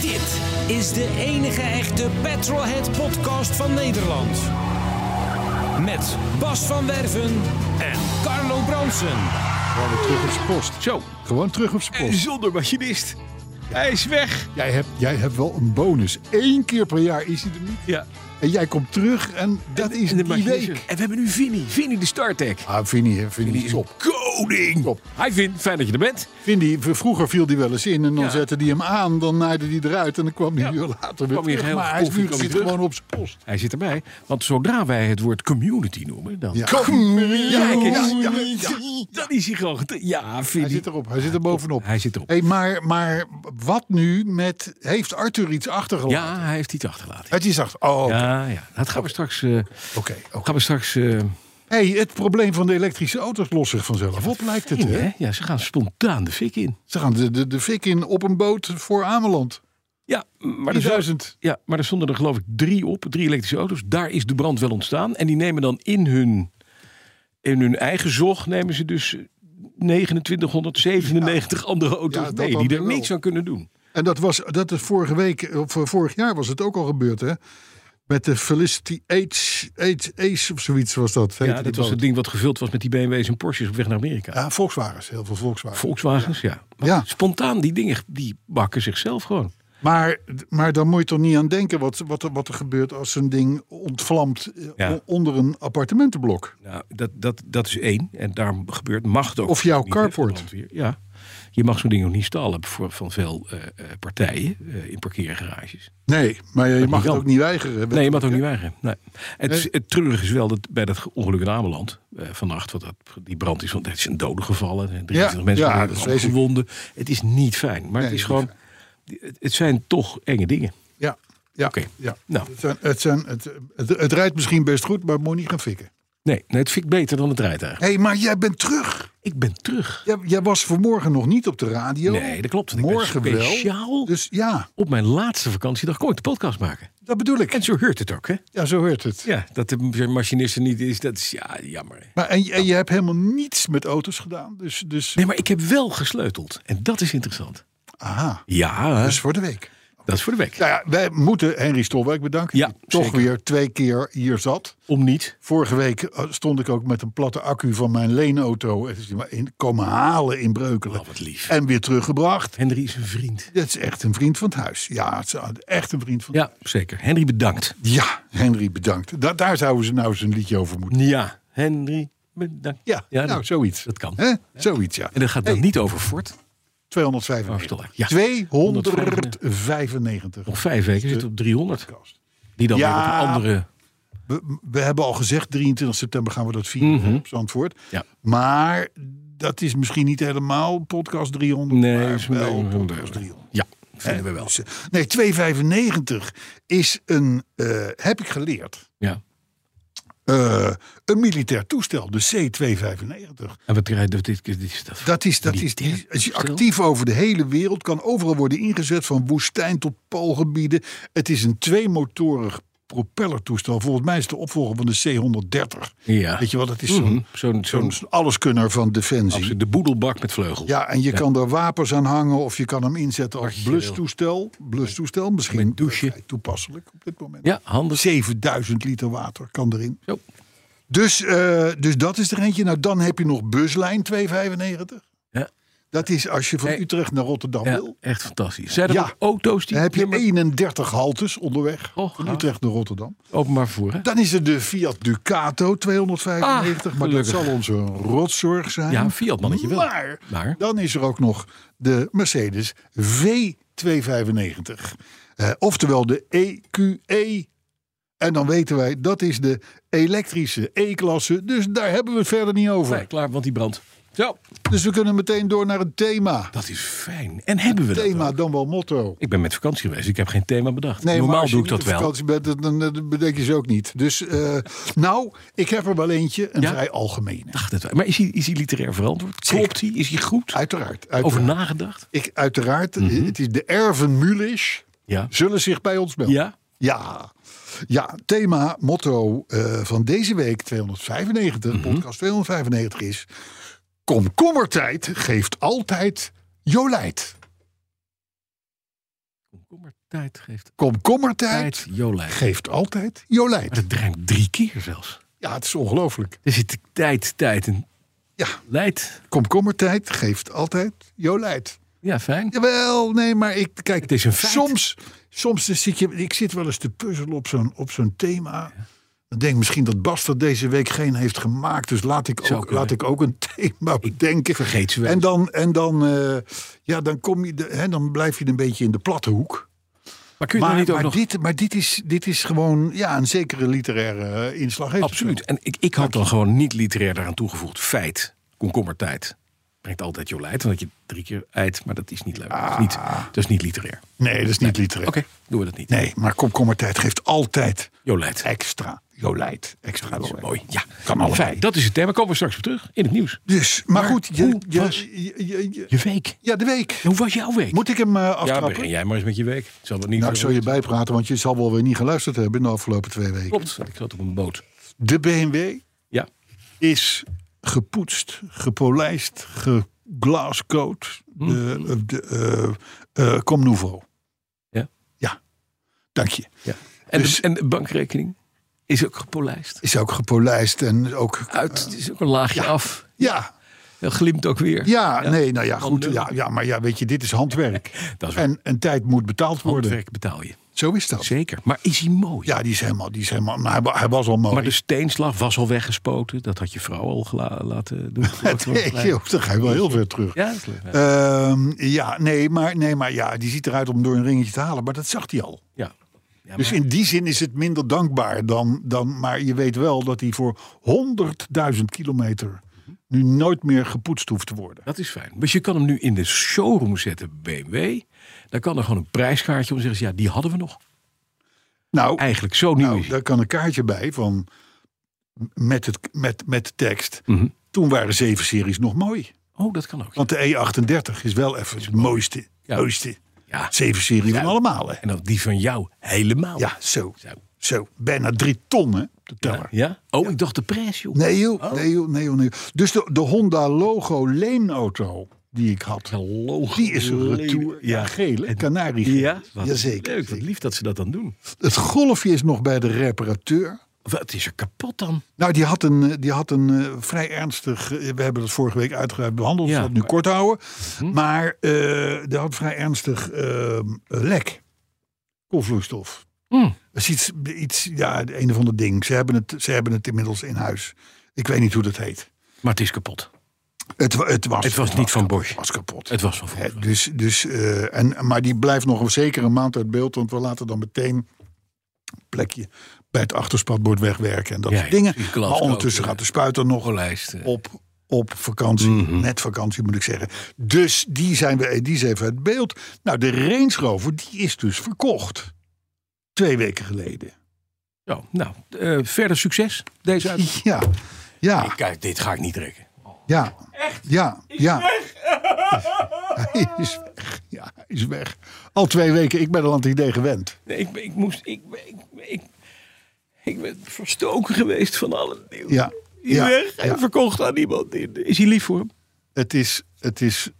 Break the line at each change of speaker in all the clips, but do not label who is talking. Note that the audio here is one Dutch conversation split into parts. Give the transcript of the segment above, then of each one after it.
Dit is de enige echte Petrolhead podcast van Nederland. Met Bas van Werven en Carlo Bronsen.
Gewoon weer terug op zijn post.
Zo,
Gewoon terug op zijn post.
zonder machinist. Hij is weg.
Jij hebt, jij hebt wel een bonus. Eén keer per jaar is hij er niet.
Ja,
En jij komt terug en dat is
en de
die
machinist.
week.
En we hebben nu Vinny. Vinny de StarTech.
Ah, Vinnie, hè, Vinnie
Die
is
is
top.
koning.
Top.
Hi Vin, fijn dat je er bent.
Vinnie, v- vroeger viel die wel eens in en dan
Ja.
zette die hem aan. Dan naaide die eruit en dan kwam die een uur later weer
Kwam hier
terug.
heel
Maar hij is
koffie,
nu
kwam
zit
terug.
gewoon op zijn post.
Hij zit erbij. Want zodra wij het woord community noemen, dan...
Ja. Ja,
eens.
ja, ja.
Dan is hij gewoon... gete- Ja,
Hij
Vinny.
zit erop, hij zit er bovenop.
Hij zit erop.
Hey, maar, maar wat nu met... Heeft Arthur iets achtergelaten?
Ja, hij heeft iets achtergelaten.
Het is achter... Oh, oké.
Ja, ja. Dat gaan we straks... eh,
oké, oké.
gaan we straks... eh,
Hey, het probleem van de elektrische auto's lost zich vanzelf op, lijkt het.
in,
Hè?
hè? Ja, ze gaan spontaan de fik in.
Ze gaan de, de, de fik in op een boot voor Ameland.
Ja, maar er zou-
3000.
Ja, maar er stonden er geloof ik drie op, drie elektrische auto's. Daar is de brand wel ontstaan. En die nemen dan in hun, in hun eigen zog, nemen ze dus 2997 andere
Ja,
auto's
dat
mee.
dan
Die er
weer wel.
niks aan kunnen doen.
En dat was dat is vorige week, of vorig jaar was het ook al gebeurd, hè? Met de Felicity Ace, Ace, Ace of zoiets was dat. heette
Ja,
die
dat was
boot.
het ding wat gevuld was met die BMW's en Porsches op weg naar Amerika.
Ja, Volkswagens, heel veel Volkswagens.
Volkswagens, ja. Maar
Ja.
Spontaan, die dingen, die bakken zichzelf gewoon.
Maar, maar dan moet je toch niet aan denken wat, wat, er- wat er gebeurt als zo'n ding ontvlamt eh,
Ja.
o- onder een appartementenblok.
Nou, dat, dat, dat is één. En daar gebeurt mag het ook.
Of jouw
niet, hè, de
carport.
brandweer. Ja. Je mag zo'n ding ook niet stallen voor, van veel eh, eh, partijen eh, in parkeergarages.
Nee, maar je mag het
kan.
ook niet weigeren.
Nee, je mag het ook niet weigeren. Nee. Het,
Nee.
is- het treurige is wel dat bij dat ongeluk in Ameland eh, vannacht, want dat, die brand is, want het is een dode gevallen. en 23
Ja,
mensen
ja,
waren
dat is
allemaal
vreselijk.
gewonden. Het is niet fijn, maar
Nee,
het is
niet
gewoon. Het, het zijn toch enge dingen.
Ja, ja,
Oké.
ja.
Nou.
Het, zijn, het, zijn, het, het, het rijdt misschien best goed, maar het moet niet gaan fikken.
Nee, nee, het fikt beter dan het rijtuig.
Hé, hey, maar jij bent terug.
Ik ben terug.
Jij, jij was vanmorgen nog niet op de radio.
Nee, dat klopt. Ik ben
Morgen wel.
speciaal.
Dus ja,
Op mijn laatste vakantiedag kon ik de podcast maken.
dat bedoel ik.
En zo heurt het ook, hè?
Ja, zo hoort het.
Ja, dat de machinist er niet is, dat is ja, jammer. hè.
Maar, en, en je hebt helemaal niets met auto's gedaan. Dus, dus
Nee, maar ik heb wel gesleuteld. En dat is interessant.
aha,
Ja,
dat is voor de week.
dat is voor de week.
Nou Dus- ja, wij moeten Henry Stolwijk bedanken.
Ja,
die toch
zeker.
weer twee keer hier zat.
Om niet.
Vorige week eh, stond ik ook met een platte accu van mijn leenauto. Het is die maar in, komen halen in Breukelen.
Oh, wat lief.
En weer teruggebracht.
Henry is een vriend.
Dat is echt een vriend van het huis. Ja, het is echt een vriend van
Ja, zeker. Henry bedankt.
Ja, Henry, bedankt. Da- daar zouden ze nou eens een liedje over moeten.
Ja, Henry bedankt.
Ja, nou,
dat,
zoiets.
dat kan.
Hè? Zoiets, ja.
En dat gaat dan niet over Fort.
295.
Ja.
295.
Nog vijf weken zit op 300. Die dan
Ja.
weer op een andere...
We, we hebben al gezegd, 23 september gaan we dat vieren op Zandvoort.
Mhm. Ja.
Maar dat is misschien niet helemaal podcast 300.
Nee,
maar
is een
wel
beetje-
podcast 300.
Ja, vinden we wel.
Dus, eh, nee, 295 is een, eh, heb ik geleerd,
Ja.
eh, een militair toestel. De C-295.
En wat rijdt dit, dit is dat?
Dat is, dat is,
Militair
die is
toestel?
actief over de hele wereld. Kan overal worden ingezet, van woestijn tot poolgebieden. Het is een tweemotorig propellertoestel. Volgens mij is het de opvolger van de C-130.
Ja.
Weet je wat, dat is
Mhm.
zo'n
Zo'n-
zo'n alleskunner van Defensie.
Absoluut, de boedelbak met vleugels.
Ja, en je kan daar wapens aan hangen of je kan hem inzetten als
Wat je wil.
blustoestel. Blustoestel, misschien
Met douche.
vrij toepasselijk op dit moment.
ja handig.
7000 liter water kan erin.
Zo.
Dus, eh, dus dat is er eentje. Nou, dan heb je nog buslijn 295.
Ja.
Dat is als je van
Nee.
Utrecht naar Rotterdam
Ja,
wil.
echt fantastisch. Zijn er
Ja.
ook auto's die
Dan heb je
nummer-
31 haltes onderweg
Oh,
van
gaaf.
Utrecht naar Rotterdam.
openbaar vervoer? hè?
Dan is er de Fiat Ducato 295.
Ah,
maar dat
gelukkig.
zal onze rotzorg zijn.
Ja, een Fiat mannetje wel.
Maar,
Maar?
dan is er ook nog de Mercedes V295. Eh, oftewel de EQE E En dan weten wij, dat is de elektrische E-klasse. Dus daar hebben we het verder niet over.
Nee, klaar, want die brandt. Zo,
Dus we kunnen meteen door naar het thema.
dat is fijn. En hebben we dat
Thema
ook?
dan wel motto.
Ik ben met vakantie geweest, ik heb geen thema bedacht.
maar
Normaal
als je
doe ik
niet
dat
op
wel.
vakantie bent, dan, dan, dan bedenk je ze ook niet. Dus, eh, nou, ik heb er wel eentje, een
Ja?
vrij algemene.
Dacht het wel. Maar is hij, is hij literair verantwoord?
Zeker.
Klopt hij? Is hij goed?
Uiteraard. uiteraard.
Over nagedacht?
ik, uiteraard het is de erven Mulisch
Ja.
zullen zich bij ons melden.
Ja?
Ja, ja thema, motto eh, van deze week 295,
Mhm.
podcast 295 is... Komkommertijd geeft altijd Jolijt.
Komkommer tijd geeft
Komkommertijd
tijd Jolijt.
geeft altijd Jolijt.
Maar dat drijft drie keer zelfs.
Ja, het is ongelooflijk.
Er zit tijd, tijd en
Ja,
leidt.
komkommertijd geeft altijd Jolijt.
Ja, fijn.
Jawel, nee, maar ik kijk,
Het is een feit.
soms, soms dan zit je, ik zit wel eens te puzzelen op zo'n op zo'n thema. Dan denk ik misschien dat Bas er deze week geen heeft gemaakt, dus laat ik
Zou
ook,
kunnen.
laat ik ook een thema bedenken.
vergeet ze wel
En
eens.
dan, en dan, eh, ja, dan kom je, de- hè, dan blijf je een beetje in de platte hoek.
Maar kun je
Maar,
dan niet ook
maar
nog...
dit, maar dit is, dit is gewoon, ja, een zekere literaire eh, inslag heeft. het
Absoluut. En ik, ik had dan gewoon niet literair daaraan toegevoegd. Feit. Komkommertijd. Brengt altijd Jolijt, omdat je drie keer eit. Maar dat is niet leuk. Dat, is niet, dat is niet literair.
wel. Nee, dat is niet literair.
Oké, doen we dat niet.
Ah. Nee, maar komkommertijd geeft altijd
Jolijt.
extra Jolijt. Extra Jolijt.
Mooi, ja.
Kan allebei.
Fijn, dat is het thema. Komen we straks weer terug in het nieuws.
Dus, maar,
Maar
goed, je,
hoe
je-
was
je- je- je-
Je week.
ja, de week.
Hoe was jouw week?
Moet ik hem eh,
ja,
aftrappen?
begin jij maar eens met je week. Zal wel niet
nou, ik zal je bijpraten, want je zal wel weer niet geluisterd hebben in de afgelopen twee weken.
Klopt, want ik zat op een boot.
De BMW
Ja,
is gepoetst, gepolijst, geglascoat.
Hm.
De, de, eh, eh, Comme nouveau.
Ja.
Ja, dank je.
ja. En,
Dus-
de, en de bankrekening is ook gepolijst.
Is ook gepolijst en ook...
Uit, het is ook een laagje af.
Ja,
Het glimt ook weer.
ja, nee, nou ja,
Van
goed.
nul.
Ja, ja, maar ja, weet je, dit is handwerk.
Dat is waar.
en, en tijd moet betaald worden.
Handwerk betaal je.
Zo is dat.
Zeker. Maar is hij mooi?
Ja, die is helemaal... Die is helemaal maar hij, wa- hij was al mooi.
Maar de steenslag was al weggespoten. Dat had je vrouw al gela- laten doen.
Nee, joh, dan ga je wel heel ver terug.
Ja, dat is leuk. Ja.
Ehm, ja, nee, maar, nee, maar ja, die ziet eruit om door een ringetje te halen. Maar dat zag hij al.
Ja. Ja,
Dus in die zin is het minder dankbaar dan... dan maar je weet wel dat hij voor 100.000 kilometer... nu nooit meer gepoetst hoeft te worden.
Dat is fijn. Dus je kan hem nu in de showroom zetten, BMW. Dan kan er gewoon een prijskaartje om zeggen: ja, die hadden we nog.
Nou,
Eigenlijk zo nieuw.
nou
is hij.
daar kan een kaartje bij van... met, het, met, met de tekst.
Mhm.
Toen waren zeven series nog mooi.
Oh, dat kan ook.
Want de E38 is wel even het mooiste,
Ja.
mooiste
Ja.
zeven serie van allemaal. Hè?
En dan die van jou helemaal.
Ja, zo.
Zo.
Zo, bijna drie ton, hè, de teller.
Ja? Oh, ik dacht de prijs, joh.
Nee joh, nee joh, nee joh, nee joh. Dus de, de Honda Logo leenauto die ik had,
Hallo.
die is een retour. Ja, geel, hè, kanarie.
Ja, wat
Jazeker.
Leuk, wat lief dat ze dat dan doen.
Het golfje is nog bij de reparateur.
Wat is er kapot dan?
Nou, die had een, eh, die had een eh, vrij ernstig. eh, We hebben dat vorige week uitgebreid behandeld. dus
Ja, Mhm.
dat nu
maar-
kort houden. Maar eh, die had vrij ernstig eh, lek. Koolvloeistof.
Hmm.
Dat is iets, iets, ja, een of ander ding. Ze hebben, het, ze hebben het inmiddels in huis. Ik weet niet hoe dat heet.
Maar het is kapot.
Het, wa- het, was,
Het was niet van
kapot,
Bosch.
was kapot.
Het was van
Hè,
vroeger.
dus, dus, eh, en, maar die blijft nog een zekere maand uit beeld. Want we laten dan meteen een plekje bij het achterspatbord wegwerken. En dat
Ja,
soort dingen.
die glas
Maar ondertussen
ook,
gaat de spuiter nog
Lijst. eh,
op, op vakantie.
Mhm.
Net vakantie moet ik zeggen. Dus die, zijn we, die is even uit beeld. Nou, de Range Rover die is dus verkocht. Twee weken geleden.
Zo, nou, eh, verder succes. Deze uit.
Ja, ja,
Kijk, dit ga ik niet trekken.
ja. Echt? Ja, ja. Hij is weg. Ja, hij is weg. Al twee weken, ik ben al aan het idee gewend.
Nee, ik, ben- ik moest. Ik, ben- ik, ben- ik, ik ben verstoken geweest van alle nieuws.
Ja,
Die
ja,
weg en
ja.
verkocht aan iemand. Is hij lief voor hem?
Het is, het is,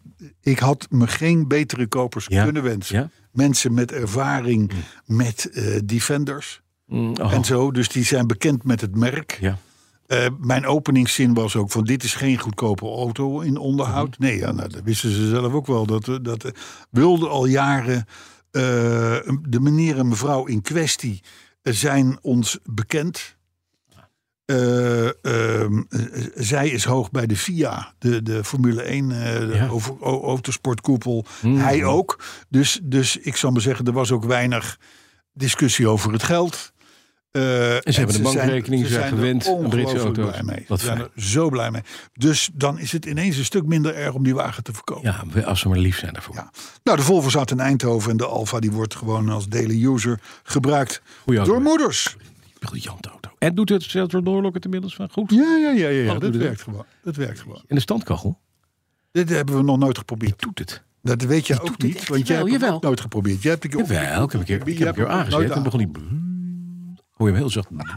ik had me geen betere kopers
Ja,
kunnen wensen.
ja. Mm.
Mensen met ervaring met eh, Defenders
oh,
en zo. Dus die zijn bekend met het merk.
ja.
Eh, mijn openingszin was ook van dit is geen goedkope auto in onderhoud.
Mm-hmm.
Nee, ja, nou, dat wisten ze zelf ook wel. Dat, eh, dat eh, wilde al jaren eh, de meneer en mevrouw in kwestie eh, zijn ons bekend. Eh, ehm, eh, zij is hoog bij de FIA, de, de Formule 1 eh de
Ja. Hmm.
over, o- autosportkoepel. Hij ook. Dus, dus ik zal maar zeggen, er was ook weinig discussie over het geld. Eh, en
hebben de bankrekening, ze zijn
er
gewend aan Britse
ongelooflijk
auto's.
Blij mee.
Wat
Ze zijn
fijn.
er zo blij mee. Dus dan is het ineens een stuk minder erg om die wagen te verkopen.
Ja, we- als ze maar lief zijn daarvoor.
Ja. Nou, de Volvo zat in Eindhoven en de Alfa die wordt gewoon als daily user gebruikt
Goeie auto,
door
hè?
moeders.
Briljante auto. En doet het Zeltor Doorlok het inmiddels van goed?
Ja, ja, ja, ja, ja.
Oh,
Dat
doe
werkt gewoon. Dat werkt gewoon.
En de standkachel?
Dit hebben we nog nooit geprobeerd.
Doet het?
Dat weet je
doet
ook
het
niet,
echt
want jij
wel,
hebt het
jawel.
ook nooit geprobeerd. Jij hebt een keer
Jawel, ik heb een keer, ik
Je
heb een
hebt
keer
hem nooit
aangezet en
aan.
begon die... Hoor je hem heel zacht.
Nou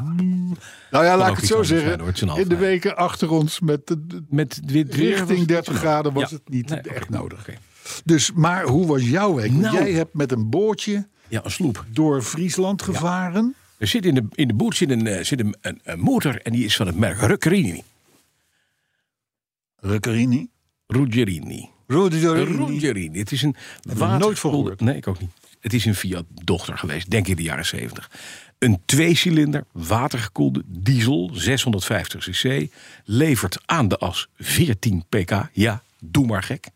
ja,
Kan
laat
ook
ik het
iets
zo
anders
zeggen.
zijn, hoor. Het is een
in de
half eind.
weken achter ons met de, de-
Met dit weer was
richting
het
30
zo.
graden was
Ja.
het niet
Nee,
echt
oké,
nodig.
oké.
Dus, maar hoe was jouw week? Want
Nou.
Jij hebt met een bootje
Ja, een sloep.
door Friesland gevaren.
Er zit in de, in de boot zit, een, eh, zit een, een, een motor en die is van het merk Ruccherini.
Ruccherini.
Ruggerini.
Ruccherini.
Ruggerini. Het is een
ik
water...
nooit van gehoord.
Nee, ik ook niet. Het is een Fiat-dochter geweest, denk ik in de jaren 70. Een tweecilinder, watergekoelde diesel, 650 cc. Levert aan de as 14 pk. Ja, doe maar gek.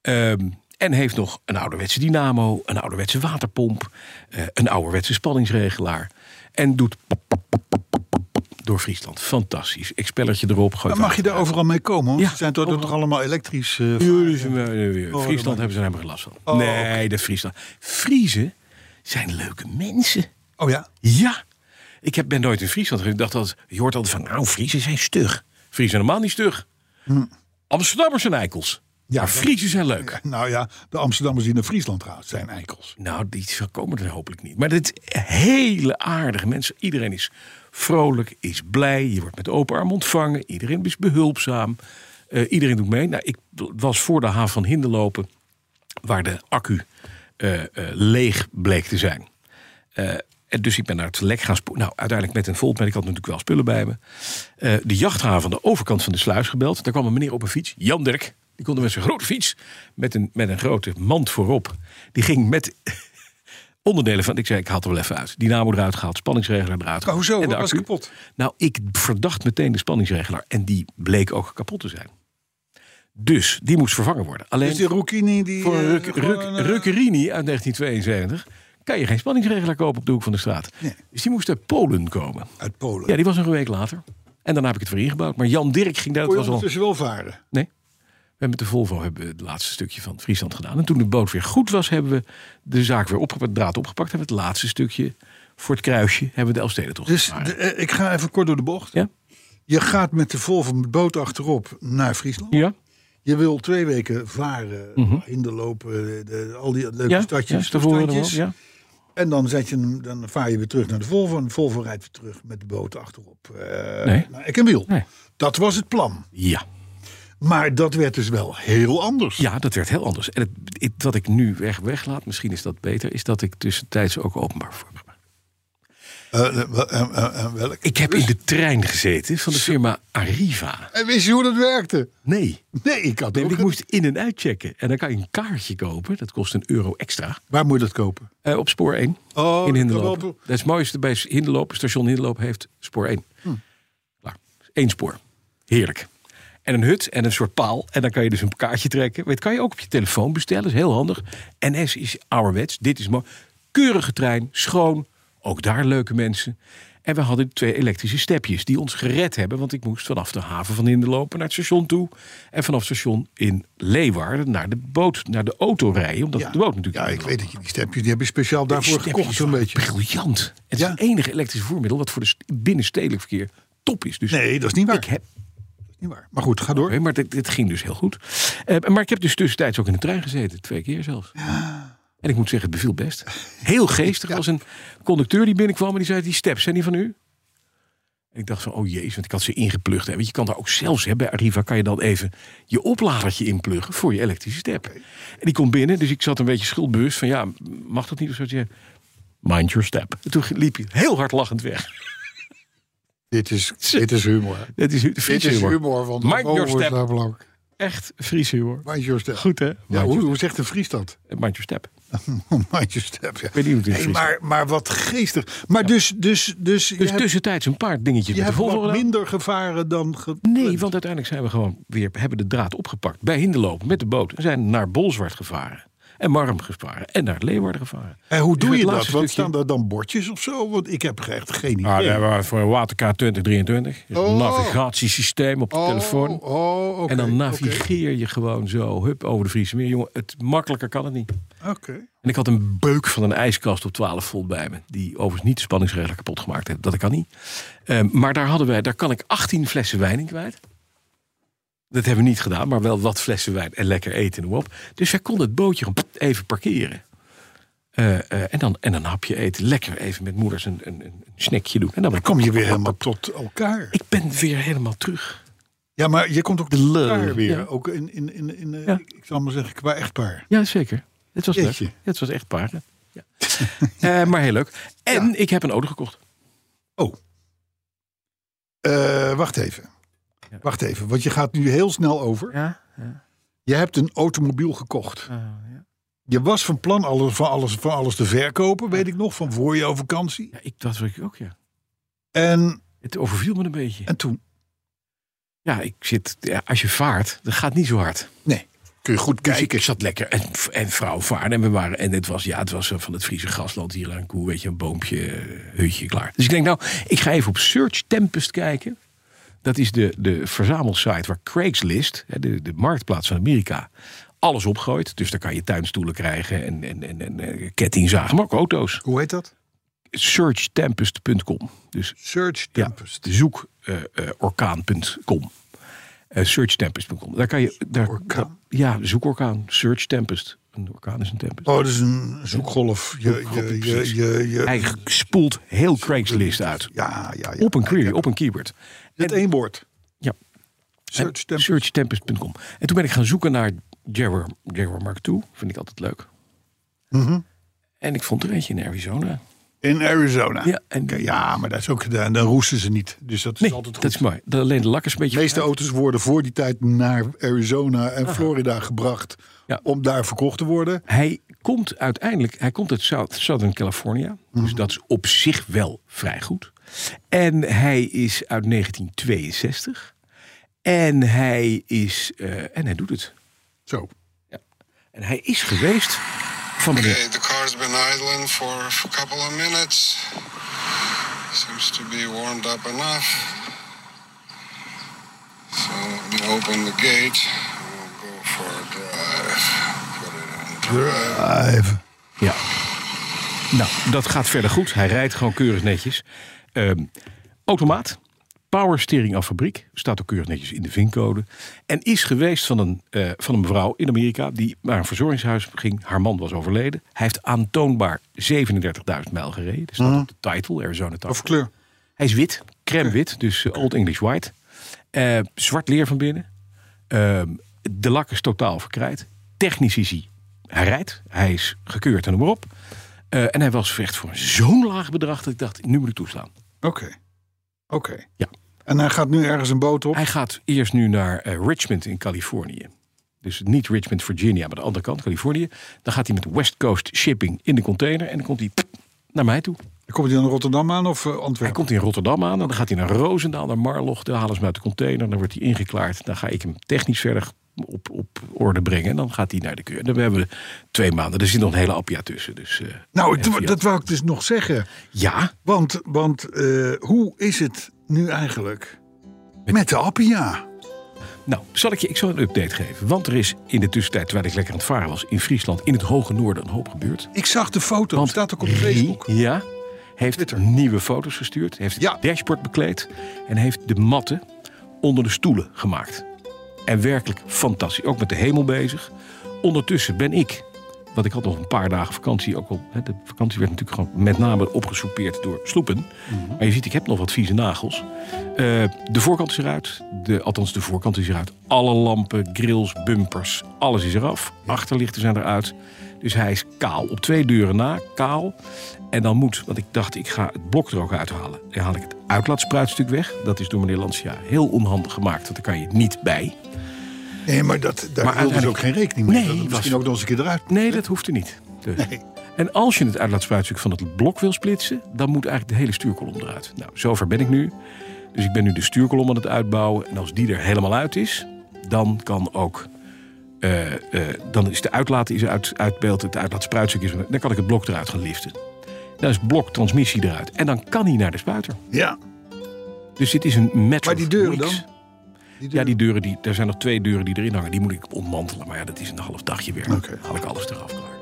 Ehm, en heeft nog een ouderwetse dynamo, een ouderwetse waterpomp... eh, een ouderwetse spanningsregelaar. En doet pop, pop, pop, pop, pop, pop, pop door Friesland. Fantastisch. Expellertje erop. gooit
Dan mag je
water
daar
uit.
overal mee komen. hoor.
Ja,
Ze zijn toch, toch allemaal elektrisch. eh,
Jullie zijn maar- eh,
Oh, dat
Friesland
maakt
hebben ze er helemaal geen last van.
Oh,
nee, dat Friesland. Friezen zijn leuke mensen.
oh ja.
Ja. Ik heb, ben nooit in Friesland geweest. Ik dacht altijd, je hoort altijd van, nou, Friesen zijn stug. Friesen zijn helemaal niet stug. Amsterdammers zijn eikels.
Hm. Ja,
maar
dat-
Friesen zijn leuk.
Nou ja, de Amsterdammers die naar Friesland gaan zijn eikels.
Nou, die komen er hopelijk niet. Maar dit hele aardige mensen. Iedereen is vrolijk, is blij. Je wordt met open arm ontvangen. Iedereen is behulpzaam. Eh, iedereen doet mee. Nou, ik was voor de haven van Hinderlopen, waar de accu eh, eh, leeg bleek te zijn. Eh, en dus ik ben naar het lek gaan spoelen. Nou, uiteindelijk met een volt, ik had natuurlijk wel spullen bij me. Eh, de jachthaven aan de overkant van de sluis gebeld. Daar kwam een meneer op een fiets, Jan Dirk. Die kon er met zijn grote fiets, met een, met een grote mand voorop. Die ging met onderdelen van. Ik zei, ik haal het er wel even uit. Dynamo eruit gehaald, spanningsregelaar eruit gehaald.
hoezo?
en de
Wat was
accu.
kapot?
Nou, ik verdacht meteen de spanningsregelaar. En die bleek ook kapot te zijn. Dus die moest vervangen worden. Alleen
Dus die Rucchini die...
voor
eh,
een Ruc-
gewoon,
Ruc-
eh,
Ruccherini uit 1972 kan je geen spanningsregelaar kopen op de hoek van de straat.
Nee.
Dus die moest uit Polen komen.
uit Polen.
Ja, die was nog een week later. En daarna heb ik het weer ingebouwd. Maar Jan Dirk ging daar.
Kon
Dat
je
was al,
ondertussen wel varen.
nee. We hebben met de Volvo hebben we het laatste stukje van Friesland gedaan. En toen de boot weer goed was, hebben we de zaak weer opgepakt, draad opgepakt. Hebben we het laatste stukje voor het kruisje, hebben we de Elfsteden toch
Dus de- eh, ik ga even kort door de bocht.
Ja?
Je gaat met de Volvo met boot achterop naar Friesland.
Ja, Mhm.
Je wil twee weken varen, hinderlopen, de, de- al die leuke
ja,
stadjes,
ja, tevoren
strandjes.
wel, ja.
En dan, zet je, hem- dan vaar je weer terug naar de Volvo. En de Volvo rijdt weer terug met de boot achterop. eh
Nee.
Naar Eck en Wiel.
Nee.
Dat was het plan.
ja.
Maar dat werd dus wel heel anders.
Ja, dat werd heel anders. En het, het- wat ik nu weg, weglaat, misschien is dat beter, is dat ik tussentijds ook openbaar voor
Eh, eh, wel- eh, eh, eh, welk?
Ik heb in de trein gezeten van de firma Arriva.
En wist je hoe dat werkte?
Nee,
Nee, ik had
nee,
ook
want ik
een-
moest in- en uitchecken. En dan kan je een kaartje kopen, dat kost een euro extra.
Waar moet je dat kopen?
Eh, op spoor 1
Oh,
in
dat
Hinderloop.
wel-
Dat is het mooiste bij Hinderloop. Station Hinderloop heeft spoor 1.
Hm.
Klaar. Eén spoor. Heerlijk. En een hut en een soort paal. En dan kan je dus een kaartje trekken. Dat kan je ook op je telefoon bestellen. is heel handig. NS is ouderwets. Dit is mooi. Keurige trein. Schoon. Ook daar leuke mensen. En we hadden twee elektrische stepjes die ons gered hebben. Want ik moest vanaf de haven van Hinderlopen naar het station toe. En vanaf het station in Leeuwarden naar de boot, naar de auto rijden. Omdat de boot natuurlijk
Ja,
in
ik
Hinderloop
weet dat je die stepjes, die heb je speciaal daarvoor
Snap je,
gekocht zo'n
joh,
beetje.
Briljant. Het
Ja.
is het enige elektrische voermiddel wat voor de st- binnenstedelijk verkeer top is. Dus
Nee, dat is niet waar.
ik heb,
Niet waar. Maar goed, ga door.
Oké, maar dit, dit ging dus heel goed. Eh, maar ik heb dus tussentijds ook in de trein gezeten. Twee keer zelfs. En ik moet zeggen, het beviel best. Heel geestig. Er was een conducteur die binnenkwam en die zei... die steps, zijn die van u? En ik dacht van, oh jezus, want ik had ze ingeplucht. Hè. Want je kan daar ook zelfs, hè, bij Arriva kan je dan even... je opladertje inpluggen voor je elektrische step. En die komt binnen, dus ik zat een beetje schuldbewust van... ja, mag dat niet of zo? Ze zei, Mind your step. En toen liep hij heel hard lachend weg.
Dit is, dit is humor.
Dat is,
Dit is humor van de
Mind your
Volvo is
step.
daar belangrijk.
Echt Friese humor.
Mind your step.
Goed, hè?
Ja,
Mind
hoe,
your-
hoe zegt een Fries dat?
Mind your step.
Mind your step, ja.
weet niet hoe het in
Nee,
Fries
maar, maar wat geestig. Maar dus, dus, dus, je
Dus
hebt,
tussentijds een paar dingetjes
je
met
hebt
de Volvo
wat
gedaan.
minder gevaren dan... Ge
Nee, want uiteindelijk zijn we gewoon weer hebben de draad opgepakt bij Hinderlopen met de boot. We zijn naar Bolzwart gevaren. en Marm gevaren en naar Leeuwarden gevaren.
En hoe
Dus
doe
het
je dat?
laatste
Wat
stukje-
staan daar dan bordjes of zo? Want ik heb echt geen idee.
Ah, daar waren we voor Waterkaart 2023. Dus
Oh.
een navigatiesysteem op de
Oh,
telefoon.
Oh, oké,
en dan
oké,
navigeer je gewoon zo, hup, over de Friese meer. Jongen, het makkelijker kan het niet.
oké.
En ik had een beuk van een ijskast op 12 volt bij me. Die overigens niet de spanningsregler kapot gemaakt heeft. Dat kan niet. Ehm, maar daar, hadden wij, daar kan ik 18 flessen wijn in kwijt. Dat hebben we niet gedaan, maar wel wat flessen wijn en lekker eten en noem op. Dus wij konden het bootje gewoon even parkeren. Eh, eh, en, dan, en dan een hapje eten. Lekker even met moeders een, een, een snackje doen. En dan,
Dan kom je weer helemaal tot elkaar.
Ik ben weer helemaal terug.
Ja, maar je komt ook tot
love,
elkaar weer.
ja.
Ook in, in, in, in eh,
Ja.
ik ik zal maar zeggen, qua echtpaar.
Ja, zeker. Het was
Jeetje.
leuk. Het was echt paarden. Ja. Eh, maar heel leuk. En ik heb een auto gekocht.
Eh, wacht even.
Ja.
Wacht even, want je gaat nu heel snel over.
Ja. Oh,
Je hebt een automobiel gekocht. Je was van plan alles, van, alles, van alles te verkopen, weet ik nog, van voor jouw vakantie.
Ja, ik, dat was ik ook, ja.
En,
Het overviel me een beetje.
en toen
Ja, ik zit, ja, als je vaart, dat gaat niet zo hard.
kun je goed
Dus ik,
kijken.
ik zat lekker en, en vrouw vaarden. En, we waren, en het was, ja, het was eh, van het Friese grasland hier aan een koe. Weet je, een boompje, eh, hutje, klaar. Dus ik denk, nou, ik ga even op Search Tempest kijken. Dat is de, de verzamelsite waar Craigslist, hè, de, de marktplaats van Amerika, alles opgooit. Dus daar kan je tuinstoelen krijgen en, en, en, en eh, kettingzagen, maar ook auto's.
Hoe heet dat?
Searchtempest.com. Dus
Search
Ja.
Tempest.
zoek eh, eh, orkaan.com. Eh, searchtempest.com. Daar kan je. Daar,
Orkaan?
da- ja, zoek orkaan. Search tempest. Een orkaan is een tempest.
Oh, dat is een zoekgolf. Je, je, je,
precies.
je, je-
Hij spoelt heel Craigslist uit.
ja, ja, ja.
Op een query, op een keyword.
Met één woord.
Ja,
Search Tempest.
searchtempest.com. En toen ben ik gaan zoeken naar Jaguar, Jaguar Mark II. Vind ik altijd leuk.
Mhm.
En ik vond er eentje in Arizona.
In Arizona.
Ja, en-
Oké, ja maar dat is ook, dan, dan roesten ze niet. Dus dat is
Nee,
altijd goed.
dat is mooi. Dat- Alleen de lak is een beetje...
De meeste auto's worden voor die tijd naar Arizona en Florida gebracht.
Ja.
Om daar verkocht te worden.
Hij komt uiteindelijk, hij komt uit South, Southern California. Dus dat is op zich wel vrij goed. En hij is uit 1962. En hij is, eh, en hij doet het.
Zo.
En hij is geweest van meneer...
Okay, the car's been idling for a couple of minutes. Seems to be warmed up enough. So let me open the gate. We'll go for a drive. Put it in
Drive.
drive.
Ja. Nou, dat gaat verder goed. Hij rijdt gewoon keurig netjes. Ehm, automaat. Powersteering af fabriek. Staat ook keurig netjes in de vincode. En is geweest van een, eh, van een mevrouw in Amerika. die naar een verzorgingshuis ging. Haar man was overleden. Hij heeft aantoonbaar 37.000 mijl gereden. Dus Dat staat op de title, Arizona Title.
Mhm. Of kleur.
Hij is wit, crème wit, dus eh, Old English White. Eh, zwart leer van binnen. Ehm, de lak is totaal verkrijt. Technisch is hij. Hij rijdt, hij is gekeurd en noem maar op. Eh, en hij was echt voor zo'n laag bedrag dat ik dacht, nu moet ik toeslaan.
Oké. Oké.
Ja.
En hij gaat nu ergens een boot op.
Hij gaat eerst nu naar eh, Richmond in Californië. Dus niet Richmond, Virginia, maar de andere kant, Californië. Dan gaat hij met West Coast Shipping in de container en dan komt hij naar mij toe.
Komt hij dan Rotterdam aan of eh,
Hij
Antwerpen?
komt in Rotterdam aan en dan gaat hij naar Roosendaal, naar Marloch. Daar halen ze hem uit de container, dan wordt hij ingeklaard. Dan ga ik hem technisch verder op, op orde brengen. En dan gaat hij naar de keur. Dan hebben we twee maanden. Er zit nog een hele appia tussen. Dus, eh,
Nou,
en
ik-
via-
dat wou ik dus nog zeggen.
Ja,
Want, want eh, hoe is het nu eigenlijk? Met, de Appia.
nou, zal ik je ik zal een update geven. Want er is in de tussentijd, terwijl ik lekker aan het varen was... in Friesland, in het hoge noorden, een hoop gebeurd.
Ik zag de foto.
Want
staat ook op
Rie,
Facebook.
Ja, heeft
Twitter.
nieuwe foto's gestuurd. Heeft het
Ja.
dashboard bekleed. En heeft de matten onder de stoelen gemaakt. En werkelijk fantastisch. Ook met de hemel bezig. Ondertussen ben ik... Want ik had nog een paar dagen vakantie. Ook al, hè, de vakantie werd natuurlijk gewoon met name opgesoupeerd door sloepen. Maar je ziet, ik heb nog wat vieze nagels. Eh, de voorkant is eruit. De, althans, de voorkant is eruit. Alle lampen, grills, bumpers, alles is eraf. Achterlichten zijn eruit. Dus hij is kaal. Op twee deuren na, kaal. En dan moet, want ik dacht, ik ga het blok er ook uithalen. Dan haal ik het uitlaatspruitstuk weg. Dat is door meneer Lancia heel onhandig gemaakt. Want daar kan je niet bij.
Nee, maar dat, daar
Maar
hielden ze
uiteindelijk-
ook geen rekening mee.
Nee,
dat het
was-
misschien ook nog eens een keer eruit.
Nee, dat hoeft er niet. Dus.
Nee.
En als je het uitlaatspruitstuk van het blok wil splitsen, dan moet eigenlijk de hele stuurkolom eruit. Nou, zover ben ik nu. Dus ik ben nu de stuurkolom aan het uitbouwen. En als die er helemaal uit is, dan kan ook eh, eh, dan is de uitlaat is uit, uit beeld, het uitlaatspruitstuk is... Dan kan ik het blok eruit gaan liften. Dan is het blok transmissie eruit. En dan kan hij naar de spuiter.
Ja.
Dus dit is een match
Maar
of
die deuren
weeks.
dan? Die
Ja, die deuren, die, er zijn nog twee deuren die erin hangen. Die moet ik ontmantelen. Maar ja, dat is een half dagje werk.
Oké.
Haal ik alles eraf klaar.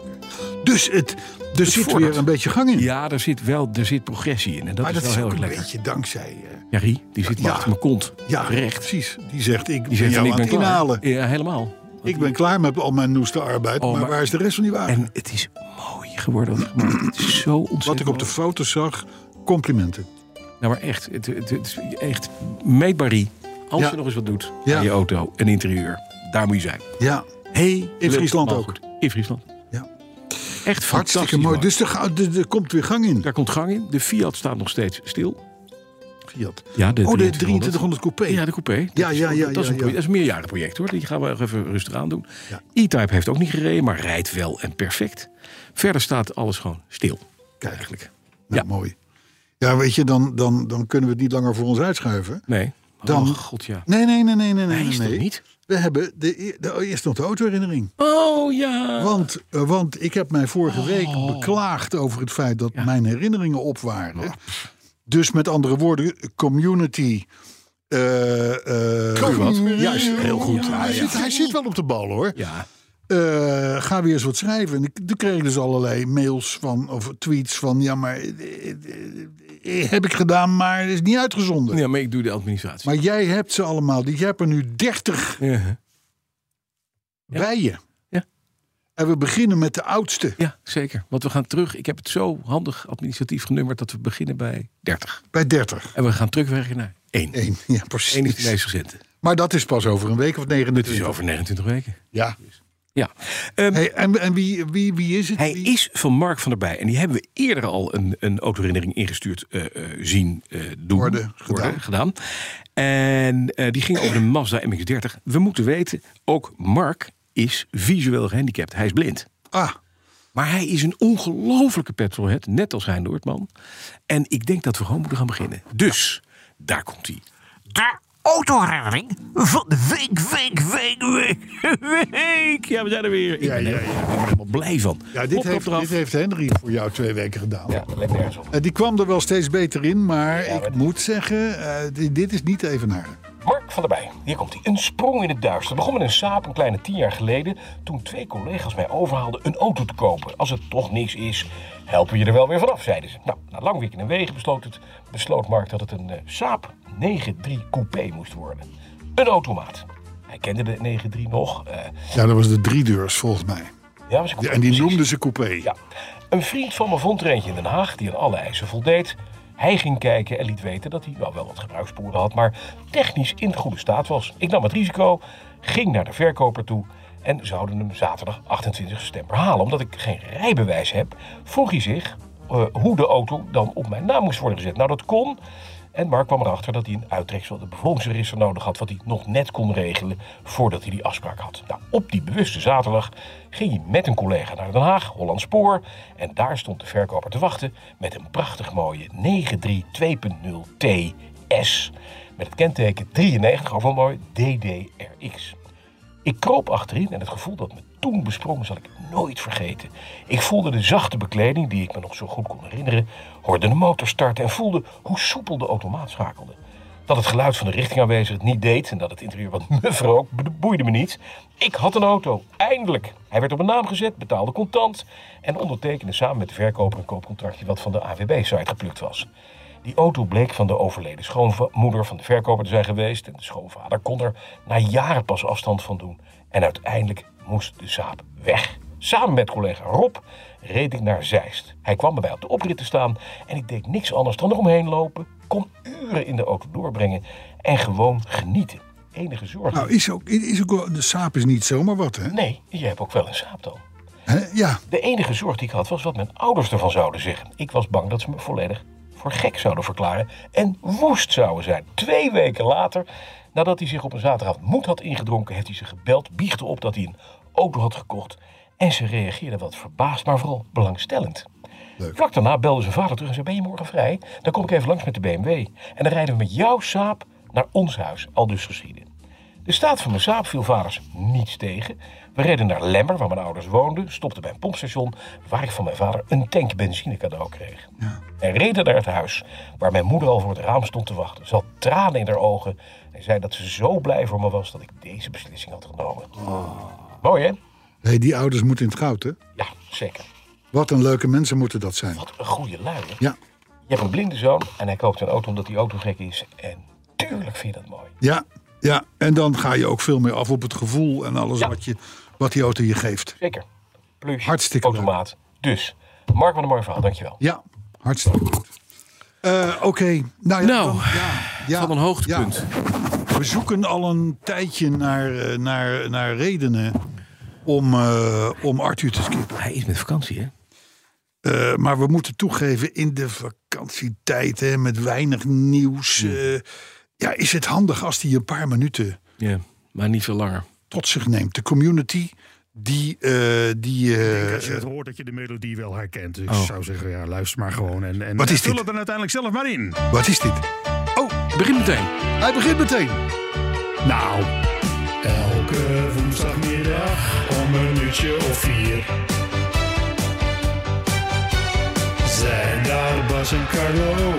Dus het, er zit
vordert.
weer een beetje gang in.
Ja, er zit wel er zit progressie in. En dat
Hmm. maar
is
dat
wel
is
heel
ook
erg
een
lekker.
beetje dankzij... eh,
Ja, Rie, die zit
Ja.
achter mijn kont.
ja,
recht.
precies. Die zegt, ik
Die
ben
zegt, van,
jou
ik
aan
ben
het
klaar.
inhalen.
Ja, helemaal.
Ik ben klaar met al mijn noeste arbeid.
Oh,
maar,
maar-
waar is de rest van die wagen?
En het is mooi geworden. wat gemaakt. Het is zo ontzettend
Wat ik op de
mooi.
foto's zag, complimenten.
Nou, maar echt. Het, het, het is echt meetbaar, Rie. Als
Ja.
je nog eens wat doet
Ja.
aan je auto en interieur. Daar moet je zijn.
Ja,
Hey,
In Friesland ook.
In Friesland.
Ja.
Echt fantastisch
hartstikke mooi.
mooi.
Dus er, ga- er- er komt weer gang in.
Daar komt gang in. De Fiat staat nog steeds stil.
Fiat.
Ja, de
Oh, de
2300.
2300 coupé.
Ja, de coupé. Dat
Ja,
is-
ja, ja,
Dat is
ja,
een,
ja.
project- dat is een meerjarenproject hoor. Die gaan we nog even rustig aan doen.
Ja.
E-Type heeft ook niet gereden, maar rijdt wel en perfect. Verder staat alles gewoon stil.
Kijk.
Eigenlijk.
Nou,
Ja.
mooi. Ja, weet je, dan, dan, dan kunnen we het niet langer voor ons uitschuiven.
Nee.
Dan-
Oh, god ja.
Nee, nee, nee, nee, nee. nee,
Hij is
nee.
toch niet?
We hebben de, e- de, oh, eerst nog de autoherinnering.
Oh ja.
Want, eh, want ik heb mij
Oh.
vorige week beklaagd over het feit dat mijn herinneringen op waren. Dus met andere woorden, community. eh eh, Juist, heel goed. hij, Zit, hij zit wel op de bal hoor.
Ja.
Eh, ga weer eens wat schrijven. En ik, toen kreeg ik dus allerlei mails van, of tweets van... ja, maar eh, eh, eh, heb ik gedaan, maar het is niet uitgezonden.
ja, maar ik doe de administratie.
Maar jij hebt ze allemaal. die- Jij hebt er nu 30
Ja.
bij je.
Ja.
En we beginnen met de oudste.
ja, zeker. Want we gaan terug. Ik heb het zo handig administratief genummerd dat we beginnen bij 30.
Bij 30.
En we gaan terugwerken naar 1.
Eén. Ja,
1 is de
precies.
meest recente.
Maar dat is pas over een week of
Dit is
29.
over 29 weken.
Ja.
Ja. Ehm,
Hey, en en wie, wie, wie is het?
Hij
Wie-
is van Mark van der Bij. En die hebben we eerder al een, een autoherinnering ingestuurd eh, eh, zien eh, doen.
Worden gedaan.
gedaan. En eh, die ging over de Mazda MX-30. We moeten weten, ook Mark is visueel gehandicapt. Hij is blind.
Ah,
Maar hij is een ongelofelijke petrolhead, net als Hein Noordman. En ik denk dat we gewoon moeten gaan beginnen. Dus, daar komt hij.
De autoherinnering van de week, week, week, week, week.
Ja, we zijn er weer. Ik ben er helemaal blij van.
ja, dit,
Klop
heeft,
eraf.
dit heeft Henry voor jou twee weken gedaan.
Ja, lijkt nergens op.
Eh, die kwam er wel steeds beter in, maar ik moet zeggen, eh, di- dit is niet even naar.
Mark van der Bij, hier komt hij. Een sprong in het duister. Het begon met een saap een kleine tien jaar geleden... toen twee collega's mij overhaalden een auto te kopen. Als het toch niks is, helpen we je er wel weer vanaf, zeiden ze. Nou, na lang wikken en wegen besloot, het, besloot Mark dat het een eh, Saab 9-3 coupé moest worden. Een automaat. Hij kende de 9-3 nog. eh,
Ja, dat was de driedeurs volgens mij.
ja, was een coupé,
en die
precies.
noemden ze coupé.
Ja. Een vriend van me vond er eentje in Den Haag die aan alle eisen voldeed. Hij ging kijken en liet weten dat hij nou, wel wat gebruikssporen had, maar technisch in goede staat was. Ik nam het risico, ging naar de verkoper toe en zouden hem zaterdag 28 september halen. Omdat ik geen rijbewijs heb, vroeg hij zich eh, hoe de auto dan op mijn naam moest worden gezet. Nou, dat kon. En Mark kwam erachter dat hij een uittreksel de bevolkingsregister nodig had, wat hij nog net kon regelen voordat hij die afspraak had. Nou, op die bewuste zaterdag ging hij met een collega naar Den Haag, Holland Spoor, en daar stond de verkoper te wachten met een prachtig mooie 932.0 TS met het kenteken 93, ook wel mooi, DDRX. Ik kroop achterin en het gevoel dat me toen besprong zal ik nooit vergeten. Ik voelde de zachte bekleding die ik me nog zo goed kon herinneren, hoorde de motor starten en voelde hoe soepel de automaat schakelde. Dat het geluid van de richtingaanwezigen het niet deed en dat het interieur wat muf rook, be- boeide me niet. Ik had een auto, eindelijk. Hij werd op mijn naam gezet, betaalde contant en ondertekende samen met de verkoper een koopcontractje wat van de AWB-site geplukt was. Die auto bleek van de overleden schoonmoeder van de verkoper te zijn geweest. En de schoonvader kon er na jaren pas afstand van doen. En uiteindelijk moest de zaap weg. Samen met collega Rob reed ik naar Zeist. Hij kwam me bij op de oprit te staan en ik deed niks anders dan eromheen lopen. Kon uren in de auto doorbrengen en gewoon genieten. Enige zorg.
Nou, is ook, is ook wel, de saap is niet zomaar wat, hè?
Nee, je hebt ook wel een saap dan.
Hè? Ja,
De enige zorg die ik had was wat mijn ouders ervan zouden zeggen. Ik was bang dat ze me volledig voor gek zouden verklaren en woest zouden zijn. Twee weken later, nadat hij zich op een zaterdag moed had ingedronken, heeft hij ze gebeld, biechtte op dat hij een auto had gekocht. En ze reageerden wat verbaasd, maar vooral belangstellend. Vlak daarna belde zijn vader terug en zei: Ben je morgen vrij? Dan kom ik even langs met de BMW. En dan rijden we met jouw saap naar ons huis, al dus geschieden. De staat van mijn zaap viel vaders niets tegen. We reden naar Lemmer, waar mijn ouders woonden, stopten bij een pompstation... waar ik van mijn vader een tank benzine cadeau kreeg. En reden naar het huis, waar mijn moeder al voor het raam stond te wachten. Ze had tranen in haar ogen en zei dat ze zo blij voor me was... dat ik deze beslissing had genomen.
Oh.
Mooi, hè?
Hey, die ouders moeten in het goud, hè?
Ja, zeker.
Wat een leuke mensen moeten dat zijn.
Wat een goede lui, hè?
Ja,
Je hebt een blinde zoon en hij koopt een auto omdat die auto gek is. En tuurlijk vind je dat mooi.
ja, ja. En dan ga je ook veel meer af op het gevoel en alles
Ja.
wat, je, wat die auto je geeft.
Zeker. Plus
Hartstikke
automaat. Dus, Mark, wat een mooi verhaal. Dankjewel.
Ja, hartstikke goed. Eh, Oké, nou ja,
Nou,
dan- ja, ja,
van een hoogtepunt.
ja. We zoeken al een tijdje naar, eh, naar, naar redenen om, eh, om Arthur te skippen.
Hij is met vakantie, hè?
Eh, maar we moeten toegeven, in de vakantietijd hè, met weinig nieuws... eh, ja, is het handig als hij een paar minuten
Ja, maar niet veel langer.
tot zich neemt. De community die... eh, die eh,
Als je het hoort dat je de melodie wel herkent. Dus ik
Oh.
zou zeggen, ja, luister maar gewoon. En, en
Wat is
vul
dit?
het dan uiteindelijk zelf maar in.
eh, wat is dit?
Begin Oh, meteen.
Hij begint meteen.
Nou. Elke woensdagmiddag om een uurtje of vier. Zijn daar Bas en Carlo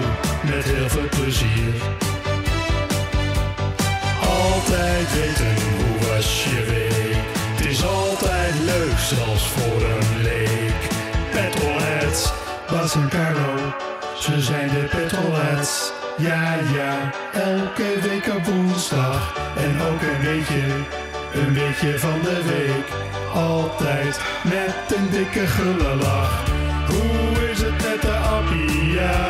met heel veel plezier. Altijd weten hoe was je week. Het is altijd leuk, zelfs voor een leek. Petrolheads, Bas en Carlo, ze zijn de petrolheads. Ja, ja, elke week op woensdag en ook een beetje, een beetje van de week. Altijd met een dikke gulle lach. Hoe is het met de appie? Ja,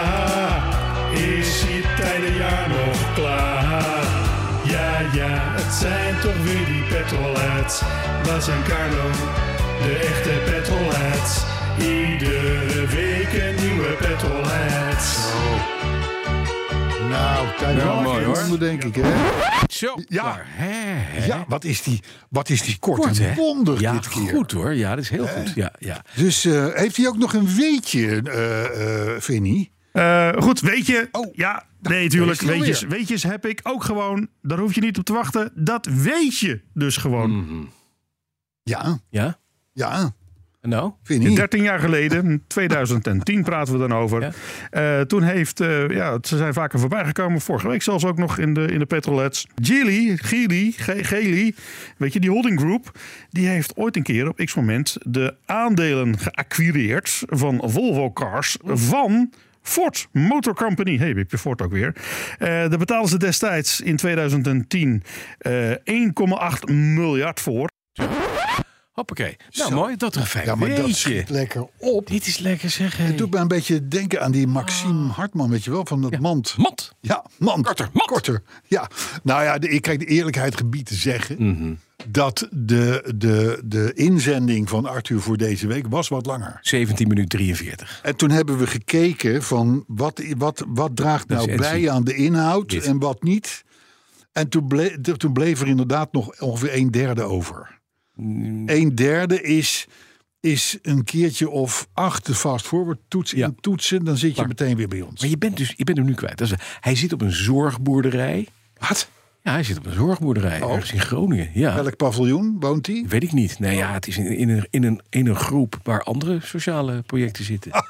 is hij tijdenjaar nog klaar? Ja, ja, het zijn toch weer die petrolheads. Bas en Carlo, de echte petrolheads. Iedere week een nieuwe petrolheads.
Nou, kijk
Nou,
wel
mooi,
even
hoor.
onder, denk ik. Hè?
Zo.
Ja.
klaar. Hè, hè.
Ja, wat is die, wat is die kort,
Kort,
en
hè?
bondig
Ja,
dit keer.
goed hoor. Ja, dat is heel goed. Ja, ja.
Dus eh, heeft hij ook nog een weetje, eh eh Vinnie?
Eh, goed, weet je.
Oh,
ja, nee, tuurlijk.
is hij
Weetjes,
alweer.
weetjes heb ik ook gewoon. Daar hoef je niet op te wachten. Dat weet je dus gewoon.
Ja,
Ja?
ja,
En nou?
Vinnie.
13 jaar geleden, 2010 praten we dan over.
Ja.
Eh, toen heeft, eh, ja, ze zijn vaker voorbijgekomen. Vorige week zelfs ook nog in de, in de Petrolets. Gili, Gili, Ge- Geli, weet je, die holding group. Die heeft ooit een keer op x moment de aandelen geacquireerd van Volvo Cars van... Ford Motor Company. Hey, heb je Ford ook weer. Eh daar betaalden ze destijds in 2010 eh 1,8 miljard voor.
Hoppakee. Nou,
Zo.
mooi. Dat er fijn
Ja, maar dat
weetje.
schiet lekker op.
Dit is lekker zeg. hè.
Het doet mij een beetje denken aan die
Ah.
Maxime Hartman, weet je wel, van dat mand.
Mat.
Ja, mand.
Korter, mand.
Korter, ja. Nou ja, de, ik kijk de eerlijkheid gebied te zeggen...
Mhm.
dat de, de, de inzending van Arthur voor deze week was wat langer.
17 minuten 43.
En toen hebben we gekeken van wat, wat, wat draagt
Dat is
nou
Enzo.
bij aan de inhoud
Dit.
en wat niet. En toen, ble- de- toen bleef er inderdaad nog ongeveer een derde over.
Mm.
Een derde is, is een keertje of acht de fast forward toets
Ja.
in toetsen. Dan zit je meteen weer bij ons.
Maar je bent, dus, je bent hem nu kwijt. Dat is, hij zit op een zorgboerderij.
Wat? Oh.
Ja, hij zit op een zorgboerderij. Ergens in Groningen. Ja.
Welk paviljoen woont hij?
Weet ik niet. Nee, ja, het is in, in, een, in, een, in een groep waar andere sociale projecten zitten.